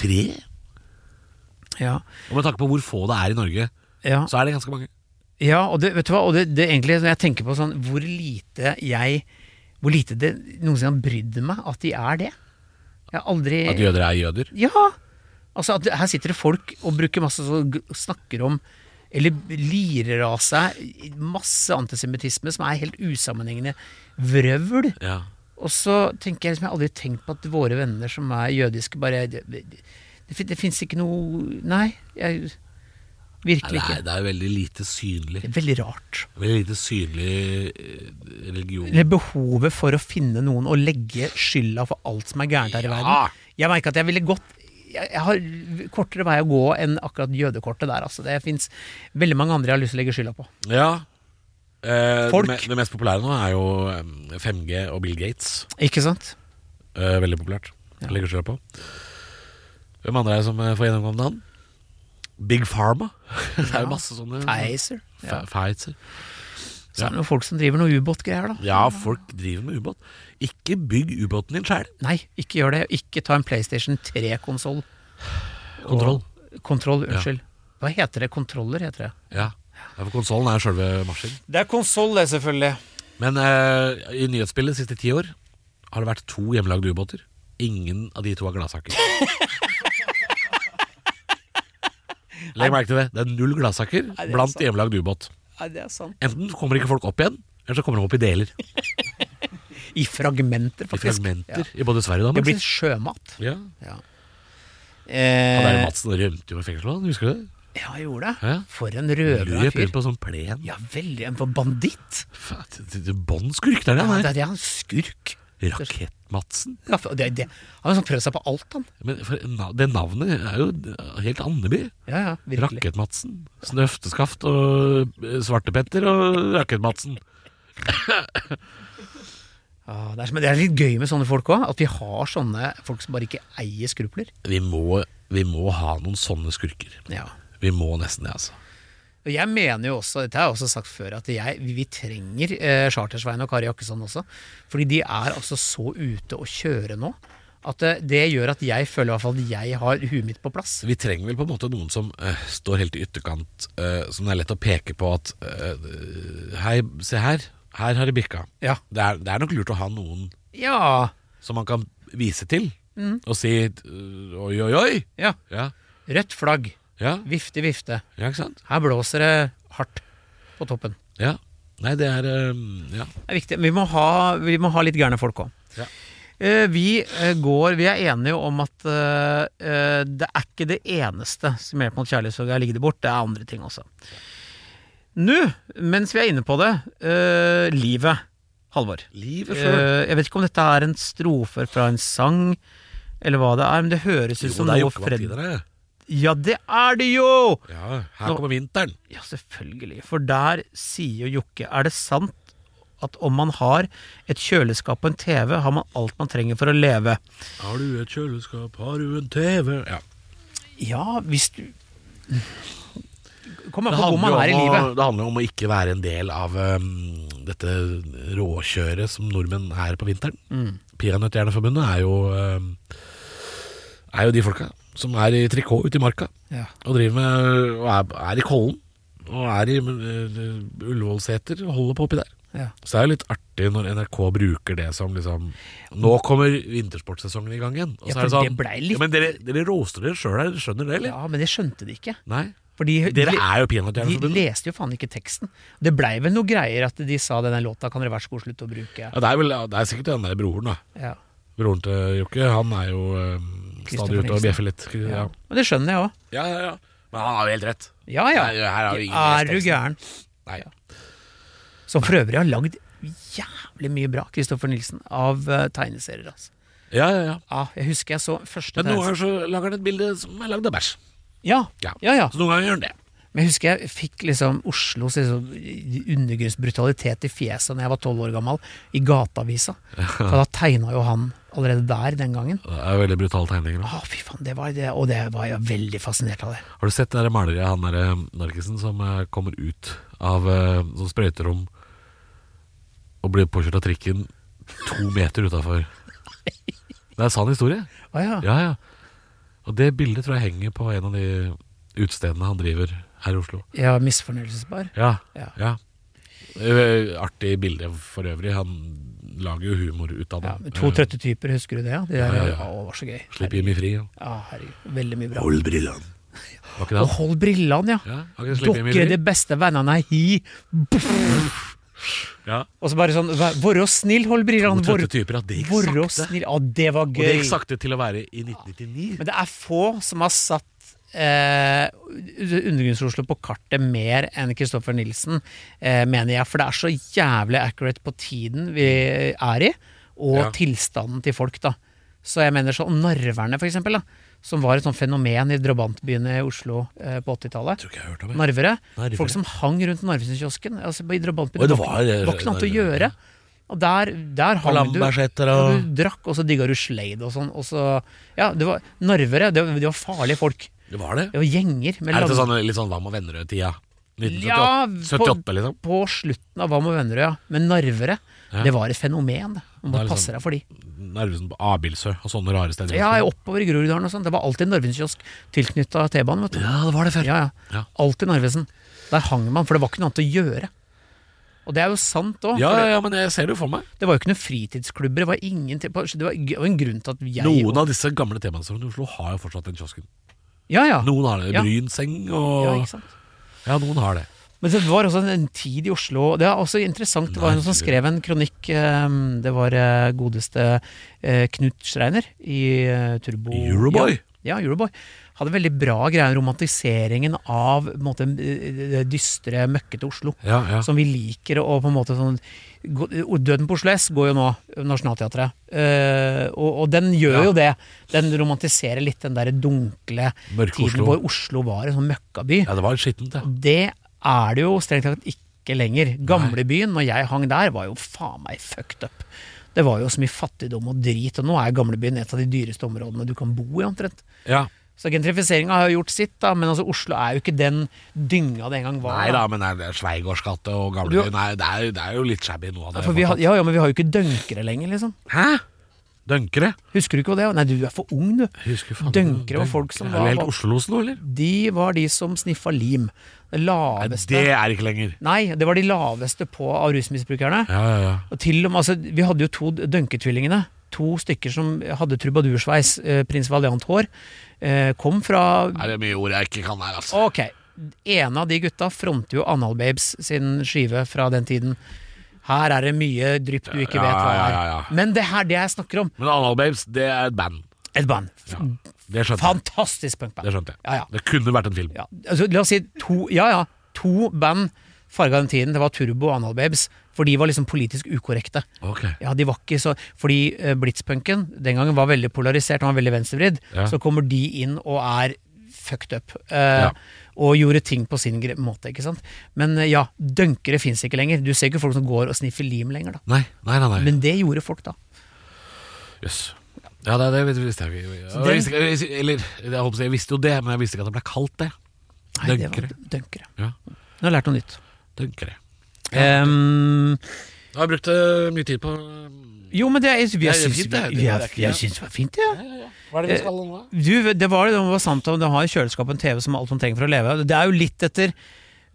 [SPEAKER 3] tre.
[SPEAKER 2] Ja.
[SPEAKER 3] Og med tanke på hvor få det er i Norge,
[SPEAKER 2] ja.
[SPEAKER 3] så er det ganske mange.
[SPEAKER 2] Ja, og det, vet du hva, og det, det er egentlig, når jeg tenker på sånn, hvor lite jeg Hvor lite det noensinne har brydd meg at de er det. Jeg har aldri
[SPEAKER 3] At jøder er jøder.
[SPEAKER 2] Ja! Altså, at det- her sitter det folk og bruker masse så, og snakker om eller lirer av seg masse antisemittisme som er helt usammenhengende vrøvl.
[SPEAKER 3] Ja.
[SPEAKER 2] Og så tenker jeg liksom, jeg har aldri tenkt på at våre venner som er jødiske, bare Det, det, det, det fins ikke noe Nei. Jeg,
[SPEAKER 3] Nei,
[SPEAKER 2] virkelig
[SPEAKER 3] det, er,
[SPEAKER 2] ikke.
[SPEAKER 3] det er veldig lite synlig.
[SPEAKER 2] Det er veldig rart.
[SPEAKER 3] Veldig lite synlig eh, religion.
[SPEAKER 2] Eller behovet for å finne noen og legge skylda for alt som er gærent her i
[SPEAKER 3] Ja.
[SPEAKER 2] verden. Jeg merker at jeg ville gått jeg jeg har kortere vei å gå enn akkurat jødekortet der. Altså. Det fins veldig mange andre jeg har lyst til å legge skylda på.
[SPEAKER 3] Ja. Eh,
[SPEAKER 2] Folk.
[SPEAKER 3] Det, me- det mest populære nå er jo eh, 5G og Bill Gates.
[SPEAKER 2] Ikke sant?
[SPEAKER 3] Eh, veldig populært. Legger skylda på. Hvem andre er det som eh, får gjennomgå den? Big Pharma. *laughs* det er jo masse sånne
[SPEAKER 2] Pfizer.
[SPEAKER 3] Fa- Pfizer.
[SPEAKER 2] Så er det noen folk som driver noe ubåtgreier, da.
[SPEAKER 3] Ja, folk driver med ubåt. Ikke bygg ubåten din sjæl.
[SPEAKER 2] Nei, ikke gjør det. Ikke ta en PlayStation 3-konsoll.
[SPEAKER 3] Kontroll.
[SPEAKER 2] Kontroll, unnskyld. Hva heter det? Kontroller, heter det.
[SPEAKER 3] Ja. ja, for konsollen er sjølve maskinen.
[SPEAKER 2] Det er konsoll, det, selvfølgelig.
[SPEAKER 3] Men eh, i nyhetsbildet de siste ti år har det vært to hjemmelagde ubåter. Ingen av de to
[SPEAKER 2] *laughs*
[SPEAKER 3] har gladsaker. Legg merke til det. Det er null gladsaker
[SPEAKER 2] det er
[SPEAKER 3] blant
[SPEAKER 2] sant.
[SPEAKER 3] hjemmelagd ubåt.
[SPEAKER 2] Nei, det er sant.
[SPEAKER 3] Enten kommer ikke folk opp igjen, Eller så kommer de opp i deler.
[SPEAKER 2] I fragmenter,
[SPEAKER 3] I
[SPEAKER 2] faktisk.
[SPEAKER 3] fragmenter. I både Sverige
[SPEAKER 2] Det
[SPEAKER 3] og
[SPEAKER 2] er
[SPEAKER 3] Danmark.
[SPEAKER 2] blitt sjømat.
[SPEAKER 3] Ja.
[SPEAKER 2] Ja.
[SPEAKER 3] Han der
[SPEAKER 2] Eh,
[SPEAKER 3] Madsen rømte jo med fengselet, han, husker du det?
[SPEAKER 2] ja, jeg gjorde det.
[SPEAKER 3] Ja.
[SPEAKER 2] For en røver av en
[SPEAKER 3] Løp
[SPEAKER 2] fyr.
[SPEAKER 3] inn på sånn plen.
[SPEAKER 2] Ja, veldig. En banditt.
[SPEAKER 3] Faen, det- det- det- Båndskurk der,
[SPEAKER 2] Ja, det
[SPEAKER 3] han er.
[SPEAKER 2] er det han skurk.
[SPEAKER 3] Rakett-Madsen.
[SPEAKER 2] Ja, for- det, er det. Han har sånn prøvd seg på alt, han.
[SPEAKER 3] Men for, na- det navnet er jo helt Andeby.
[SPEAKER 2] Ja, ja, virkelig.
[SPEAKER 3] Rakett-Madsen. Snøfteskaft og eh, Svartepetter og Rakett-Madsen.
[SPEAKER 2] Ja, det, er, som- det er litt gøy med sånne folk òg. At vi har sånne folk som bare ikke eier skrupler.
[SPEAKER 3] Vi må, vi må ha noen sånne skurker.
[SPEAKER 2] Ja.
[SPEAKER 3] Vi må nesten det, altså.
[SPEAKER 2] Og jeg mener jo også, dette har jeg også sagt før, at jeg, vi, vi trenger eh, Chartersveien og Kari Jakkesson også. Fordi de er altså så ute å kjøre nå. At eh, det gjør at jeg føler i hvert fall at jeg har huet mitt på plass.
[SPEAKER 3] Vi trenger vel på en måte noen som eh, står helt i ytterkant, eh, som det er lett å peke på at eh, Hei, se her. Her har det bikka.
[SPEAKER 2] Ja.
[SPEAKER 3] Det er, det er nok lurt å ha noen
[SPEAKER 2] Ja.
[SPEAKER 3] som man kan vise til, og si eh, oi, oi, oi.
[SPEAKER 2] ja.
[SPEAKER 3] Ja,
[SPEAKER 2] Rødt flagg.
[SPEAKER 3] ja,
[SPEAKER 2] Vifte, vifte.
[SPEAKER 3] ja ikke sant?
[SPEAKER 2] Her blåser det hardt på toppen.
[SPEAKER 3] Ja. Nei, det er eh, Ja.
[SPEAKER 2] Det er viktig. Vi må ha, vi må ha litt gærne folk òg.
[SPEAKER 3] Ja.
[SPEAKER 2] Vi eh, går Vi er enige om at eh, eh, det er ikke det eneste som hjelper mot kjærlighetssorg er å ligge det bort. Det er andre ting også. Nå, mens vi er inne på det, eh, livet. Halvor.
[SPEAKER 3] Livet
[SPEAKER 2] Eh, jeg vet ikke om dette er en strofe fra en sang, eller hva det er, men det høres ut som noe Fred... Ja, det er det jo!
[SPEAKER 3] Ja, her
[SPEAKER 2] Nå-
[SPEAKER 3] kommer vinteren.
[SPEAKER 2] Ja, selvfølgelig. For der sier jo Jokke Er det sant at om man har et kjøleskap og en TV, har man alt man trenger for å leve?
[SPEAKER 3] Har du et kjøleskap, har du en TV Ja.
[SPEAKER 2] Ja, hvis du Kom an
[SPEAKER 3] Det
[SPEAKER 2] på hvor man
[SPEAKER 3] handler,
[SPEAKER 2] er i
[SPEAKER 3] jo om å,
[SPEAKER 2] livet.
[SPEAKER 3] det handler om å ikke være en del av um, dette råkjøret som nordmenn er på vinteren. Mm. Peanøttjerneforbundet er jo um, Er jo de folka som er i trikot ute i marka
[SPEAKER 2] Ja.
[SPEAKER 3] og driver med og er, er i Kollen. Og er i uh, Ullevålseter og holder på oppi der.
[SPEAKER 2] Ja.
[SPEAKER 3] Så det er jo litt artig når NRK bruker det som liksom Nå kommer vintersportsesongen i gang igjen. Og
[SPEAKER 2] Ja, for
[SPEAKER 3] så er det sånn
[SPEAKER 2] det ble litt-
[SPEAKER 3] ja, Men dere, dere roaster dere sjøl her, skjønner dere, eller?
[SPEAKER 2] ja, men det skjønte de ikke.
[SPEAKER 3] Nei?
[SPEAKER 2] For de,
[SPEAKER 3] Dere
[SPEAKER 2] de,
[SPEAKER 3] er jo
[SPEAKER 2] de
[SPEAKER 3] peanøttjerneforbundet.
[SPEAKER 2] leste jo faen ikke teksten. Det blei vel noe greier at de sa denne låta kan dere være så god slutte å bruke.
[SPEAKER 3] Ja, det er vel Det er sikkert den der broren, da.
[SPEAKER 2] Ja.
[SPEAKER 3] Broren til Jokke. Han er jo eh,
[SPEAKER 2] Kristoffer
[SPEAKER 3] stadig ute og
[SPEAKER 2] Nilsen.
[SPEAKER 3] bjeffer litt. Ja.
[SPEAKER 2] Ja. Men det skjønner jeg òg.
[SPEAKER 3] ja, ja, ja. Men han har jo helt rett.
[SPEAKER 2] Ja ja.
[SPEAKER 3] Nei, her har vi ingen
[SPEAKER 2] Er du
[SPEAKER 3] teksten.
[SPEAKER 2] gæren?
[SPEAKER 3] Nei.
[SPEAKER 2] Som for øvrig har lagd jævlig mye bra, Kristoffer Nilsen, av eh, tegneserier. altså
[SPEAKER 3] Ja, ja, ja.
[SPEAKER 2] Ja, jeg husker jeg så første
[SPEAKER 3] Men noen
[SPEAKER 2] tegneserie-
[SPEAKER 3] ganger så lager han et bilde som er lagd av bæsj.
[SPEAKER 2] ja,
[SPEAKER 3] Ja.
[SPEAKER 2] ja, ja.
[SPEAKER 3] Så noen ganger gjør han det.
[SPEAKER 2] Men jeg husker jeg fikk liksom Oslos liksom, undergrunnsbrutalitet i fjeset Når jeg var tolv år gammel, i gateavisa. For da tegna jo han allerede der den gangen.
[SPEAKER 3] Det er veldig brutale tegninger. da.
[SPEAKER 2] Å, fy faen, det var det, og det var jeg veldig fascinert av det.
[SPEAKER 3] Har du sett det der maleriet av han derre narkisen som eh, kommer ut av eh, sånn sprøyterom og blir påkjørt av trikken to meter *laughs* utafor? Det er en sann historie.
[SPEAKER 2] Å ja.
[SPEAKER 3] Ja, ja. Og det bildet tror jeg henger på en av de utestedene han driver her i Oslo.
[SPEAKER 2] Jeg var misfornøyelsesbar.
[SPEAKER 3] Ja,
[SPEAKER 2] Ja.
[SPEAKER 3] ja. Eh, Artig bilde for øvrig. Han lager jo humor ut av det.
[SPEAKER 2] Ja, men to trøtte typer, husker du det? ja? De der, ja,
[SPEAKER 3] Ja, ja, ja.
[SPEAKER 2] Å, det var så gøy.
[SPEAKER 3] Eh, Slipp Jimmy fri. Ja.
[SPEAKER 2] Ja, herregud. Veldig mye bra.
[SPEAKER 3] Hold brillene. Var ikke det
[SPEAKER 2] Og
[SPEAKER 3] han?
[SPEAKER 2] hold brillene, ja.
[SPEAKER 3] Ja, var ikke det Slipp Jimmy
[SPEAKER 2] Dere er
[SPEAKER 3] fri?
[SPEAKER 2] de beste vennene hi.
[SPEAKER 3] Ja.
[SPEAKER 2] Og så bare sånn, vær vær snill, hold
[SPEAKER 3] To
[SPEAKER 2] brillene. vær-
[SPEAKER 3] trøtte typer. Ja, det gikk
[SPEAKER 2] Vårå
[SPEAKER 3] sakte.
[SPEAKER 2] snill Ja, det var
[SPEAKER 3] Og det
[SPEAKER 2] gøy.
[SPEAKER 3] gikk sakte til å være i 1999.
[SPEAKER 2] Men det er få som har satt eh, Undergrunns-Oslo på kartet mer enn Kristoffer Nilsen, eh, mener jeg. For det er så jævlig accurate på tiden vi er i, og
[SPEAKER 3] Ja.
[SPEAKER 2] tilstanden til folk, da. Så jeg mener sånn Narverne, for eksempel, da, som var et sånt fenomen i drabantbyene i Oslo eh, på 80-tallet.
[SPEAKER 3] Jeg tror ikke jeg har hørt om det.
[SPEAKER 2] Narvere.
[SPEAKER 3] Narvere.
[SPEAKER 2] Folk som hang rundt Narvesen-kiosken. Altså i drabantbyen.
[SPEAKER 3] Oi,
[SPEAKER 2] var
[SPEAKER 3] det var, eh,
[SPEAKER 2] ikke- var ikke noe annet å
[SPEAKER 3] Narvere.
[SPEAKER 2] gjøre. Og der, der
[SPEAKER 3] Og
[SPEAKER 2] hang du.
[SPEAKER 3] Lambertseter
[SPEAKER 2] Ja,
[SPEAKER 3] og
[SPEAKER 2] du drakk, og så digga du sleid og sånn. Og så, ja, det var narvere. Det var, det var farlige folk.
[SPEAKER 3] Det var det.
[SPEAKER 2] Det var gjenger. Med
[SPEAKER 3] Er dette
[SPEAKER 2] lang-
[SPEAKER 3] sånn, litt sånn Hva med Vennerød-tida?
[SPEAKER 2] Ja,
[SPEAKER 3] 1978,
[SPEAKER 2] på-
[SPEAKER 3] 78, liksom?
[SPEAKER 2] På slutten av Hva med vennerød, ja. Men narvere,
[SPEAKER 3] Ja.
[SPEAKER 2] det var et fenomen. det. Man
[SPEAKER 3] Det er
[SPEAKER 2] måtte
[SPEAKER 3] liksom-
[SPEAKER 2] passe deg for de.
[SPEAKER 3] Narvesen på Abildsø og sånne rare steder.
[SPEAKER 2] Ja, jeg oppover i Groruddalen og sånn. Det var alltid en Narvesen-kiosk tilknytta T-banen, vet du.
[SPEAKER 3] Ja, det var det før.
[SPEAKER 2] Ja,
[SPEAKER 3] Ja.
[SPEAKER 2] ja. Alltid Narvesen. Der hang man, for det var ikke noe annet å gjøre. Og det er jo sant òg.
[SPEAKER 3] Ja, ja, men jeg ser det jo for meg.
[SPEAKER 2] Det var jo ikke noen fritidsklubber. Det var, ingen, det var det var en grunn til at jeg
[SPEAKER 3] Noen av disse gamle temastorene i Oslo har jo fortsatt den kiosken.
[SPEAKER 2] Ah. Ja, ja.
[SPEAKER 3] Noen har det.
[SPEAKER 2] Ja.
[SPEAKER 3] Brynseng
[SPEAKER 2] ja
[SPEAKER 3] og
[SPEAKER 2] ikke sant?
[SPEAKER 3] Ja, noen har det.
[SPEAKER 2] Men det var også en, en tid i Oslo Det er også interessant, det var noen som skrev en kronikk eh, Det var eh, godeste eh, Knut Schreiner i eh, Turbo
[SPEAKER 3] Euroboy?
[SPEAKER 2] Ja, ja, Euroboy Hadde veldig bra greier om romantiseringen av på en måte, eh, det dystre, møkkete Oslo
[SPEAKER 3] Ja, ja.
[SPEAKER 2] som vi liker og på en måte sånn gå- Døden på Oslo S går jo nå, Nationaltheatret. Eh, og, og den gjør
[SPEAKER 3] Ja.
[SPEAKER 2] jo det. Den romantiserer litt den derre dunkle
[SPEAKER 3] Mørke
[SPEAKER 2] tiden
[SPEAKER 3] Oslo.
[SPEAKER 2] hvor Oslo var en sånn møkkaby.
[SPEAKER 3] ja, det var skittent, ja.
[SPEAKER 2] Det er det jo strengt tatt ikke lenger. Gamlebyen, når jeg hang der, var jo faen meg fucked up. Det var jo så mye fattigdom og drit, og nå er gamlebyen et av de dyreste områdene du kan bo i, omtrent.
[SPEAKER 3] ja.
[SPEAKER 2] Så gentrifiseringa har jo gjort sitt, da, men altså Oslo er jo ikke den dynga det en gang var.
[SPEAKER 3] Nei da, men er det Sveigårdsgate og
[SPEAKER 2] Du-
[SPEAKER 3] Gamlebyen er- det, er jo- det er jo litt shabby noe av det.
[SPEAKER 2] For vi har, ja, ja, men vi har jo ikke dønkere lenger, liksom.
[SPEAKER 3] Hæ? Dønkere?
[SPEAKER 2] Husker du ikke det? Nei, du er for ung, du.
[SPEAKER 3] Jeg Husker faen
[SPEAKER 2] Dønkere var folk som
[SPEAKER 3] var Er
[SPEAKER 2] var-
[SPEAKER 3] det helt Oslos nå, eller?
[SPEAKER 2] De var de som sniffa lim. Det
[SPEAKER 3] Nei, det
[SPEAKER 2] laveste
[SPEAKER 3] er ikke lenger.
[SPEAKER 2] Nei, det var de laveste på av rusmisbrukerne.
[SPEAKER 3] Ja, ja, ja.
[SPEAKER 2] Og til og med, altså, vi hadde jo to dønketvillingene. To stykker som hadde trubadursveis, eh, prins Valiant-hår. Eh, kom fra
[SPEAKER 3] Er det mye ord jeg ikke kan her, altså?
[SPEAKER 2] Ok, en av de gutta fronter jo Anal Babes sin skive fra den tiden. Her er det mye drypp du ikke
[SPEAKER 3] Ja,
[SPEAKER 2] vet hva
[SPEAKER 3] ja,
[SPEAKER 2] er.
[SPEAKER 3] ja, ja.
[SPEAKER 2] Men det her, det jeg snakker om
[SPEAKER 3] Men Anal Babes, det er et band.
[SPEAKER 2] Et band.
[SPEAKER 3] Det skjønte jeg.
[SPEAKER 2] Fantastisk punkband.
[SPEAKER 3] Det skjønte jeg.
[SPEAKER 2] Ja, ja.
[SPEAKER 3] Det kunne vært en film.
[SPEAKER 2] ja, altså, la oss si to, ja, ja, to band farga den tiden. Det var Turbo og Anal Babes, for de var liksom politisk ukorrekte.
[SPEAKER 3] Ok.
[SPEAKER 2] Ja, de var ikke så Fordi eh, blitzpunken den gangen var veldig polarisert, han var veldig venstrevridd.
[SPEAKER 3] Ja.
[SPEAKER 2] Så kommer de inn og er fucked up. eh,
[SPEAKER 3] Ja.
[SPEAKER 2] Og gjorde ting på sin gre- måte, ikke sant. Men eh, ja, dønkere fins ikke lenger. Du ser ikke folk som går og sniffer lim lenger, da.
[SPEAKER 3] Nei, nei, nei. nei.
[SPEAKER 2] Men det gjorde folk da.
[SPEAKER 3] Jøss. Ja, det, det visste jeg ikke.
[SPEAKER 2] Så
[SPEAKER 3] Jeg
[SPEAKER 2] den-
[SPEAKER 3] visste, ikke- eller, jeg håper å si, jeg visste jo det, men jeg visste ikke at det ble kalt det.
[SPEAKER 2] Nei, det var
[SPEAKER 3] Dønkere.
[SPEAKER 2] dønkere.
[SPEAKER 3] Ja,
[SPEAKER 2] Nå har jeg lært noe nytt.
[SPEAKER 3] Dønkere.
[SPEAKER 2] Ehm,
[SPEAKER 3] Jeg har brukt eh, mye tid på eh,
[SPEAKER 2] jo, men det er, jeg,
[SPEAKER 3] er
[SPEAKER 2] syns-
[SPEAKER 3] fint, det. Det
[SPEAKER 2] jeg-
[SPEAKER 3] er ikke-
[SPEAKER 2] jeg syns det var fint, jeg. Ja.
[SPEAKER 3] Hva er det vi skal nå?
[SPEAKER 2] Du, det var det det var sant om du har i kjøleskapet en TV som er alt man trenger for å leve. Det er jo litt etter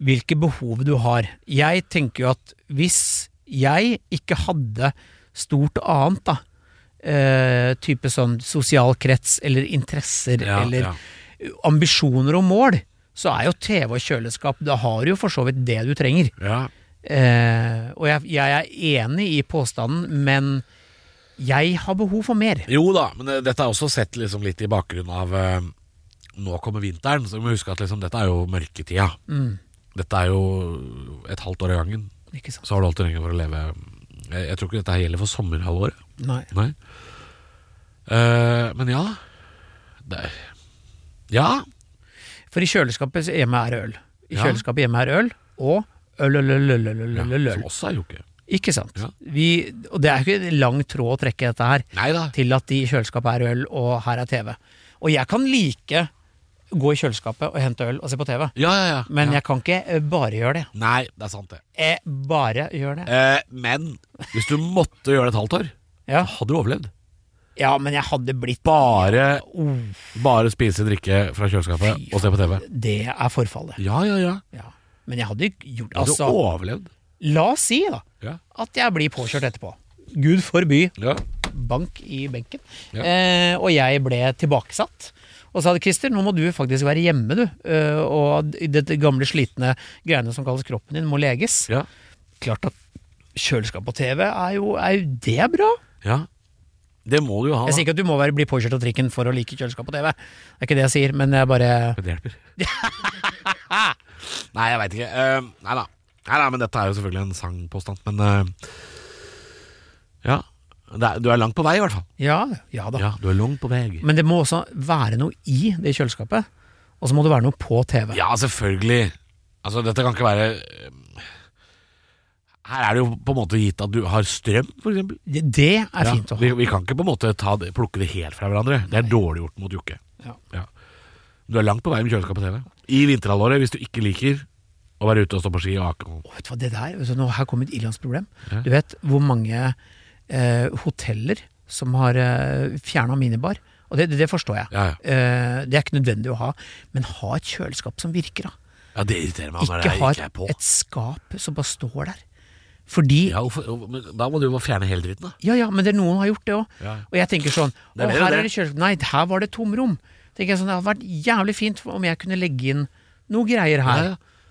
[SPEAKER 2] hvilke behov du har. Jeg tenker jo at hvis jeg ikke hadde stort annet, da, eh, type sånn sosial krets eller interesser
[SPEAKER 3] Ja,
[SPEAKER 2] eller
[SPEAKER 3] ja.
[SPEAKER 2] ambisjoner og mål, så er jo TV og kjøleskap Da har du jo for så vidt det du trenger.
[SPEAKER 3] Ja.
[SPEAKER 2] Eh, og jeg, jeg er enig i påstanden, men jeg har behov for mer.
[SPEAKER 3] Jo da, men eh, dette er også sett liksom litt i bakgrunnen av eh, Nå kommer vinteren, så vi må huske at liksom, dette er jo mørketida. Dette er jo et halvt år av gangen.
[SPEAKER 2] Ikke sant?
[SPEAKER 3] Så har du alt du trenger for å leve. Jeg, jeg tror ikke dette her gjelder for sommerhalvåret.
[SPEAKER 2] Nei.
[SPEAKER 3] Nei. Eh, men ja det er, Ja.
[SPEAKER 2] For i kjøleskapet hjemme er øl. I
[SPEAKER 3] Ja.
[SPEAKER 2] kjøleskapet hjemme er øl, og øl, øl, øl, øl, øl, øl,
[SPEAKER 3] ja
[SPEAKER 2] øl, øl,
[SPEAKER 3] som
[SPEAKER 2] øl.
[SPEAKER 3] også er jo ikke
[SPEAKER 2] Ikke sant?
[SPEAKER 3] Ja.
[SPEAKER 2] Vi, og det er jo ikke en lang tråd å trekke i dette her,
[SPEAKER 3] Nei da.
[SPEAKER 2] til at de i kjøleskapet er øl, og her er TV. Og jeg kan like gå i kjøleskapet og hente øl og se på TV,
[SPEAKER 3] Ja, ja, ja.
[SPEAKER 2] men
[SPEAKER 3] ja.
[SPEAKER 2] jeg kan ikke eh, bare gjøre det.
[SPEAKER 3] Nei, det er sant, det.
[SPEAKER 2] Jeg bare gjør det.
[SPEAKER 3] Eh, men hvis du måtte gjøre det et halvt år,
[SPEAKER 2] Ja,
[SPEAKER 3] hadde du overlevd.
[SPEAKER 2] ja men jeg hadde blitt
[SPEAKER 3] Bare,
[SPEAKER 2] oh,
[SPEAKER 3] bare spise drikke fra kjøleskapet og se på TV.
[SPEAKER 2] Det er forfallet.
[SPEAKER 3] Ja, ja, ja.
[SPEAKER 2] Ja. Men jeg hadde ikke gjort
[SPEAKER 3] Hadde
[SPEAKER 2] Altså,
[SPEAKER 3] du overlevd?
[SPEAKER 2] la oss si, da,
[SPEAKER 3] Ja.
[SPEAKER 2] at jeg blir påkjørt etterpå. Gud forby
[SPEAKER 3] ja.
[SPEAKER 2] bank i benken.
[SPEAKER 3] Ja.
[SPEAKER 2] Eh, og jeg ble tilbakesatt. Og sa det, Christer, nå må du faktisk være hjemme, du. Eh, og dette gamle slitne greiene som kalles kroppen din, må leges.
[SPEAKER 3] Ja.
[SPEAKER 2] Klart at kjøleskap på TV er jo, er jo Det er bra.
[SPEAKER 3] ja. Det må du jo ha.
[SPEAKER 2] Jeg
[SPEAKER 3] da.
[SPEAKER 2] sier ikke at du må være, bli påkjørt av trikken for å like kjøleskap på TV. Det er ikke det jeg sier, men jeg bare
[SPEAKER 3] Men det hjelper. *laughs* nei, jeg veit ikke. Eh, nei da. Nei, nei, men dette er jo selvfølgelig en sangpåstand, men eh, Ja. Det er, du er langt på vei, i hvert fall.
[SPEAKER 2] Ja, ja da.
[SPEAKER 3] Ja, du er langt på vei.
[SPEAKER 2] Men det må også være noe i det kjøleskapet. Og så må det være noe på TV.
[SPEAKER 3] Ja, selvfølgelig. Altså, dette kan ikke være eh, Her er det jo på en måte gitt at du har strøm, for eksempel.
[SPEAKER 2] Det, det er
[SPEAKER 3] Ja,
[SPEAKER 2] fint å ha.
[SPEAKER 3] vi, vi kan ikke på en måte ta det, plukke det helt fra hverandre. Det er dårlig gjort mot Jokke.
[SPEAKER 2] Ja.
[SPEAKER 3] Du er langt på vei med kjøleskap på TV. I vinterhalvåret, hvis du ikke liker å være ute og stå på ski og ake.
[SPEAKER 2] Å, Vet du hva, det der, vet du, nå her kommer et ilandsproblem.
[SPEAKER 3] Ja.
[SPEAKER 2] Du vet hvor mange eh, hoteller som har eh, fjerna minibar. Og det, det, det forstår jeg.
[SPEAKER 3] Ja, ja.
[SPEAKER 2] Eh, det er ikke nødvendig å ha. Men ha et kjøleskap som virker, da.
[SPEAKER 3] Ja, det irriterer meg når
[SPEAKER 2] Ikke
[SPEAKER 3] jeg
[SPEAKER 2] ha
[SPEAKER 3] ikke er på.
[SPEAKER 2] et skap som bare står der. Fordi
[SPEAKER 3] Ja, hvorfor- hvorfor- men da må du jo bare fjerne hele dritten, da.
[SPEAKER 2] Ja ja, men det, noen har gjort det òg.
[SPEAKER 3] Ja.
[SPEAKER 2] Og jeg tenker sånn
[SPEAKER 3] Det er
[SPEAKER 2] Å,
[SPEAKER 3] mer
[SPEAKER 2] her
[SPEAKER 3] det.
[SPEAKER 2] er det kjøleskap Nei, her var det tomrom. Tenker jeg sånn, Det hadde vært jævlig fint om jeg kunne legge inn noe greier her.
[SPEAKER 3] Ja, ja.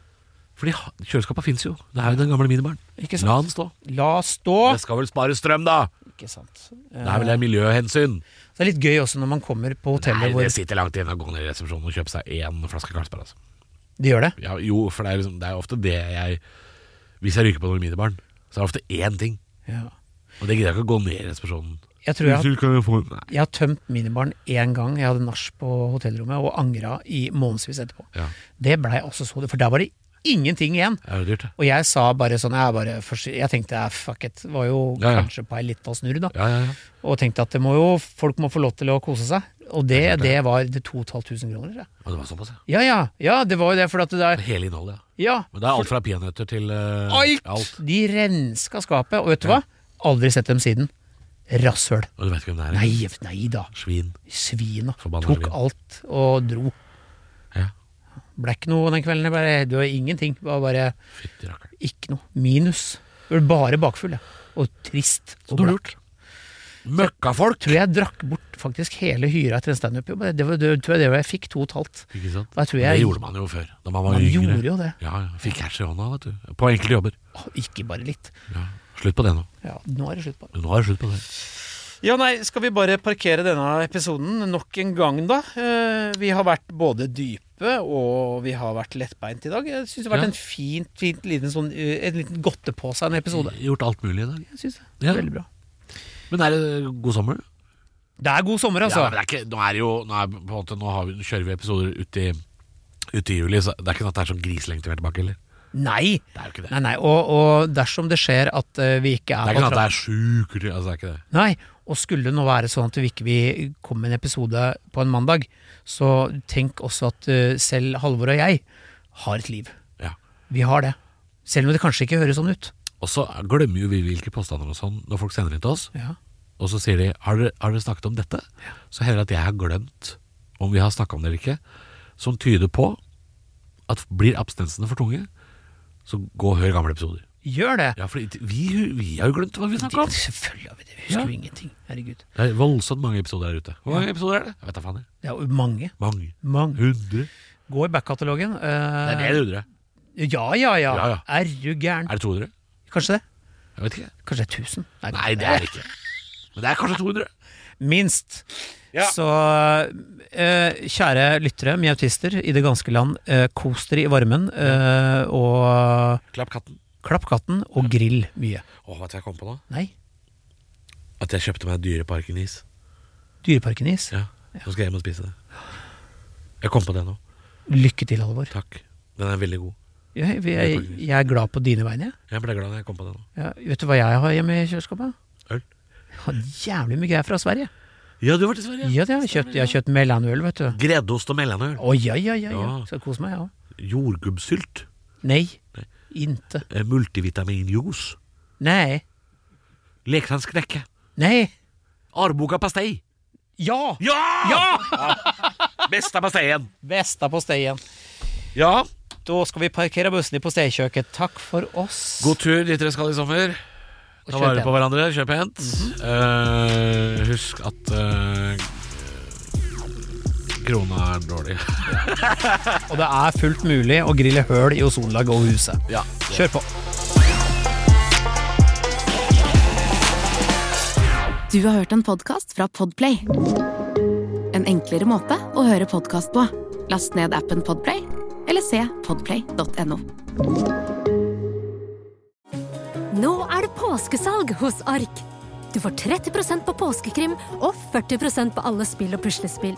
[SPEAKER 3] Fordi ha- kjøleskapet fins jo. Det er jo den gamle minibaren.
[SPEAKER 2] Ikke sant?
[SPEAKER 3] La den stå.
[SPEAKER 2] La stå.
[SPEAKER 3] Det skal vel spare strøm, da!
[SPEAKER 2] Ikke sant.
[SPEAKER 3] Det er vel det miljøhensyn.
[SPEAKER 2] Så det er litt gøy også når man kommer på
[SPEAKER 3] Nei,
[SPEAKER 2] hotellet hvor
[SPEAKER 3] det sitter langt igjen å gå ned i resepsjonen og kjøpe seg én flaske Carlsberg. Altså.
[SPEAKER 2] De gjør det.
[SPEAKER 3] Ja, jo, for det er, liksom, det er ofte det jeg Hvis jeg ryker på noen minibaren, så er det ofte én ting.
[SPEAKER 2] Ja.
[SPEAKER 3] Og det gidder jeg ikke å gå ned i resepsjonen.
[SPEAKER 2] Jeg tror jeg har,
[SPEAKER 3] kan jo få Nei.
[SPEAKER 2] jeg har tømt minibaren én gang. Jeg hadde nach på hotellrommet og angra i månedsvis etterpå.
[SPEAKER 3] Ja,
[SPEAKER 2] Det blei også så For der var det ingenting igjen.
[SPEAKER 3] det er jo dyrt, det.
[SPEAKER 2] Og jeg sa bare sånn Jeg, bare, først, jeg tenkte eh, fuck it. Det var jo
[SPEAKER 3] Ja, ja.
[SPEAKER 2] kanskje på ei lita snurr, da.
[SPEAKER 3] Ja, ja, ja.
[SPEAKER 2] Og tenkte at det må jo, folk må få lov til å kose seg. Og det,
[SPEAKER 3] Det er klart det.
[SPEAKER 2] det var det 2500 kroner. Ja.
[SPEAKER 3] Og det var såpass, ja.
[SPEAKER 2] ja ja, ja, det var jo det, for at det der
[SPEAKER 3] Hele innholdet, ja.
[SPEAKER 2] Ja,
[SPEAKER 3] Men det er alt fra peanøtter til eh,
[SPEAKER 2] alt!
[SPEAKER 3] alt.
[SPEAKER 2] De renska skapet, og vet du hva? Aldri sett dem siden. Rasshøl.
[SPEAKER 3] Og du vet ikke hvem det er?
[SPEAKER 2] Nei, nei da.
[SPEAKER 3] Svin.
[SPEAKER 2] Svina.
[SPEAKER 3] Forbanna
[SPEAKER 2] Tok
[SPEAKER 3] svin.
[SPEAKER 2] alt og dro.
[SPEAKER 3] Ja.
[SPEAKER 2] Ble ikke noe den kvelden. jeg Bare, det var ingenting. Det var bare
[SPEAKER 3] Fytti rakkeren.
[SPEAKER 2] ikke noe. Minus. Det var Bare bakfull, ja. Og trist.
[SPEAKER 3] Så
[SPEAKER 2] Og
[SPEAKER 3] dårlig
[SPEAKER 2] blakk.
[SPEAKER 3] gjort. Møkkafolk!
[SPEAKER 2] Tror jeg drakk bort faktisk hele hyra etter en standup-jobb. Det, var- det tror jeg det var jeg fikk to og et halvt.
[SPEAKER 3] Ikke sant?
[SPEAKER 2] Og jeg tror
[SPEAKER 3] Men
[SPEAKER 2] jeg-
[SPEAKER 3] Det gjorde man jo før, da man var
[SPEAKER 2] Man
[SPEAKER 3] yngre.
[SPEAKER 2] gjorde jo det.
[SPEAKER 3] Ja, ja. Fikk cash i hånda, vet du. På enkelte jobber.
[SPEAKER 2] Å, Ikke bare litt.
[SPEAKER 3] Ja. Slutt på det nå.
[SPEAKER 2] Ja, nå er det slutt på det.
[SPEAKER 3] Nå er det slutt på det.
[SPEAKER 2] Ja, nei, skal vi bare parkere denne episoden nok en gang, da? Eh, Vi har vært både dype, og vi har vært lettbeint i dag. Jeg syns det har vært
[SPEAKER 3] Ja.
[SPEAKER 2] en fint, fint liten sånn eh, En liten godte på seg en episode.
[SPEAKER 3] Gjort alt mulig i dag.
[SPEAKER 2] Jeg synes det.
[SPEAKER 3] Ja.
[SPEAKER 2] Veldig bra.
[SPEAKER 3] Men er det god sommer?
[SPEAKER 2] Det er god sommer,
[SPEAKER 3] Ja,
[SPEAKER 2] altså.
[SPEAKER 3] men det er ikke, nå er det jo Nå, er, på en måte, nå, har vi, nå kjører vi episoder ut i, ut i juli, så det er ikke sånn at det er sånn griselenge til vi er tilbake, eller?
[SPEAKER 2] nei.
[SPEAKER 3] Det er jo ikke det.
[SPEAKER 2] Nei, nei. Og, og dersom det skjer at eh, vi ikke er
[SPEAKER 3] Det er ikke sånn at
[SPEAKER 2] tra-
[SPEAKER 3] det er sjukt altså, Det er ikke det.
[SPEAKER 2] Nei. Og skulle det nå være sånn at vi ikke vi kom med en episode på en mandag, så tenk også at eh, selv Halvor og jeg har et liv.
[SPEAKER 3] Ja.
[SPEAKER 2] Vi har det. Selv om det kanskje ikke høres sånn ut.
[SPEAKER 3] Og så glemmer jo vi hvilke påstander og sånn når folk sender inn til oss,
[SPEAKER 2] Ja.
[SPEAKER 3] og så sier de har dere, har dere snakket om dette? Så hender det at jeg har glemt om vi har snakka om det eller ikke, som tyder på at blir abstensene for tunge, så gå og hør gamle episoder.
[SPEAKER 2] Gjør det.
[SPEAKER 3] Ja, for vi, vi har jo glemt hva vi snakka om.
[SPEAKER 2] Selvfølgelig har vi det. Vi husker
[SPEAKER 3] Ja.
[SPEAKER 2] jo ingenting. Herregud.
[SPEAKER 3] Det er voldsomt mange episoder der ute. Hvor mange episoder er det? Jeg vet da faen. jeg.
[SPEAKER 2] Det er jo mange.
[SPEAKER 3] Mange.
[SPEAKER 2] Mange.
[SPEAKER 3] Hundre?
[SPEAKER 2] Gå i backkatalogen.
[SPEAKER 3] Det er
[SPEAKER 2] Eh,
[SPEAKER 3] mer hundre.
[SPEAKER 2] ja, ja, ja.
[SPEAKER 3] Ja, ja.
[SPEAKER 2] Er du gæren?
[SPEAKER 3] Er det 200?
[SPEAKER 2] Kanskje det?
[SPEAKER 3] Jeg vet ikke.
[SPEAKER 2] Kanskje det er 1000?
[SPEAKER 3] Nei, det er det ikke. Men det er kanskje 200.
[SPEAKER 2] Minst.
[SPEAKER 3] Ja.
[SPEAKER 2] Så eh, kjære lyttere, mjautister i det ganske land, eh, kos dere i varmen. eh, og
[SPEAKER 3] Klapp katten.
[SPEAKER 2] klapp katten, og grill mye.
[SPEAKER 3] Å, vet du hva jeg kom på nå?
[SPEAKER 2] Nei,
[SPEAKER 3] At jeg kjøpte meg Dyreparken-is.
[SPEAKER 2] Dyreparken is.
[SPEAKER 3] Ja. Så skal jeg hjem og spise det. Jeg kom på det nå.
[SPEAKER 2] Lykke til, Halvor.
[SPEAKER 3] Takk. Den er veldig god.
[SPEAKER 2] Jeg, jeg,
[SPEAKER 3] Dyreparken is.
[SPEAKER 2] jeg er glad på dine vegne. jeg.
[SPEAKER 3] Jeg ble glad når jeg kom på det nå.
[SPEAKER 2] Ja, vet du hva jeg har hjemme i kjøleskapet?
[SPEAKER 3] Øl.
[SPEAKER 2] Jeg har jævlig mye greier fra Sverige.
[SPEAKER 3] Ja, du var til Sverige.
[SPEAKER 2] Ja, det har jeg kjøpt. Jeg har kjøpt melanøl, vet du.
[SPEAKER 3] Greddost og melanøl.
[SPEAKER 2] Å, ja, ja, ja. ja.
[SPEAKER 3] Ja.
[SPEAKER 2] Skal kose meg, jeg ja.
[SPEAKER 3] Jordgubbsylt.
[SPEAKER 2] Nei. Inte.
[SPEAKER 3] Eh, Multivitaminjuice.
[SPEAKER 2] Nei.
[SPEAKER 3] Leklandsknekke.
[SPEAKER 2] Nei.
[SPEAKER 3] Arboga pastei.
[SPEAKER 2] Ja!
[SPEAKER 3] Ja! *laughs* Beste pasteien.
[SPEAKER 2] Besta på steien.
[SPEAKER 3] Ja.
[SPEAKER 2] Da skal vi parkere bussen i posteikjøket. Takk for oss.
[SPEAKER 3] God tur dit dere skal i sommer.
[SPEAKER 2] Og
[SPEAKER 3] Ta
[SPEAKER 2] kjøp
[SPEAKER 3] vare på
[SPEAKER 2] igjen.
[SPEAKER 3] hverandre, kjøp pent. Eh, husk at eh, krona er dårlig. *laughs*
[SPEAKER 2] Og det er fullt mulig å grille høl i ozonlaget og huset.
[SPEAKER 3] Ja.
[SPEAKER 2] Kjør på.
[SPEAKER 4] Du har hørt en podcast fra Podplay En enklere måte å høre podcast på Last ned appen Podplay Eller se podplay.no
[SPEAKER 5] Nå er det påskesalg hos Ark. Du får 30 på påskekrim og 40 på alle spill og puslespill.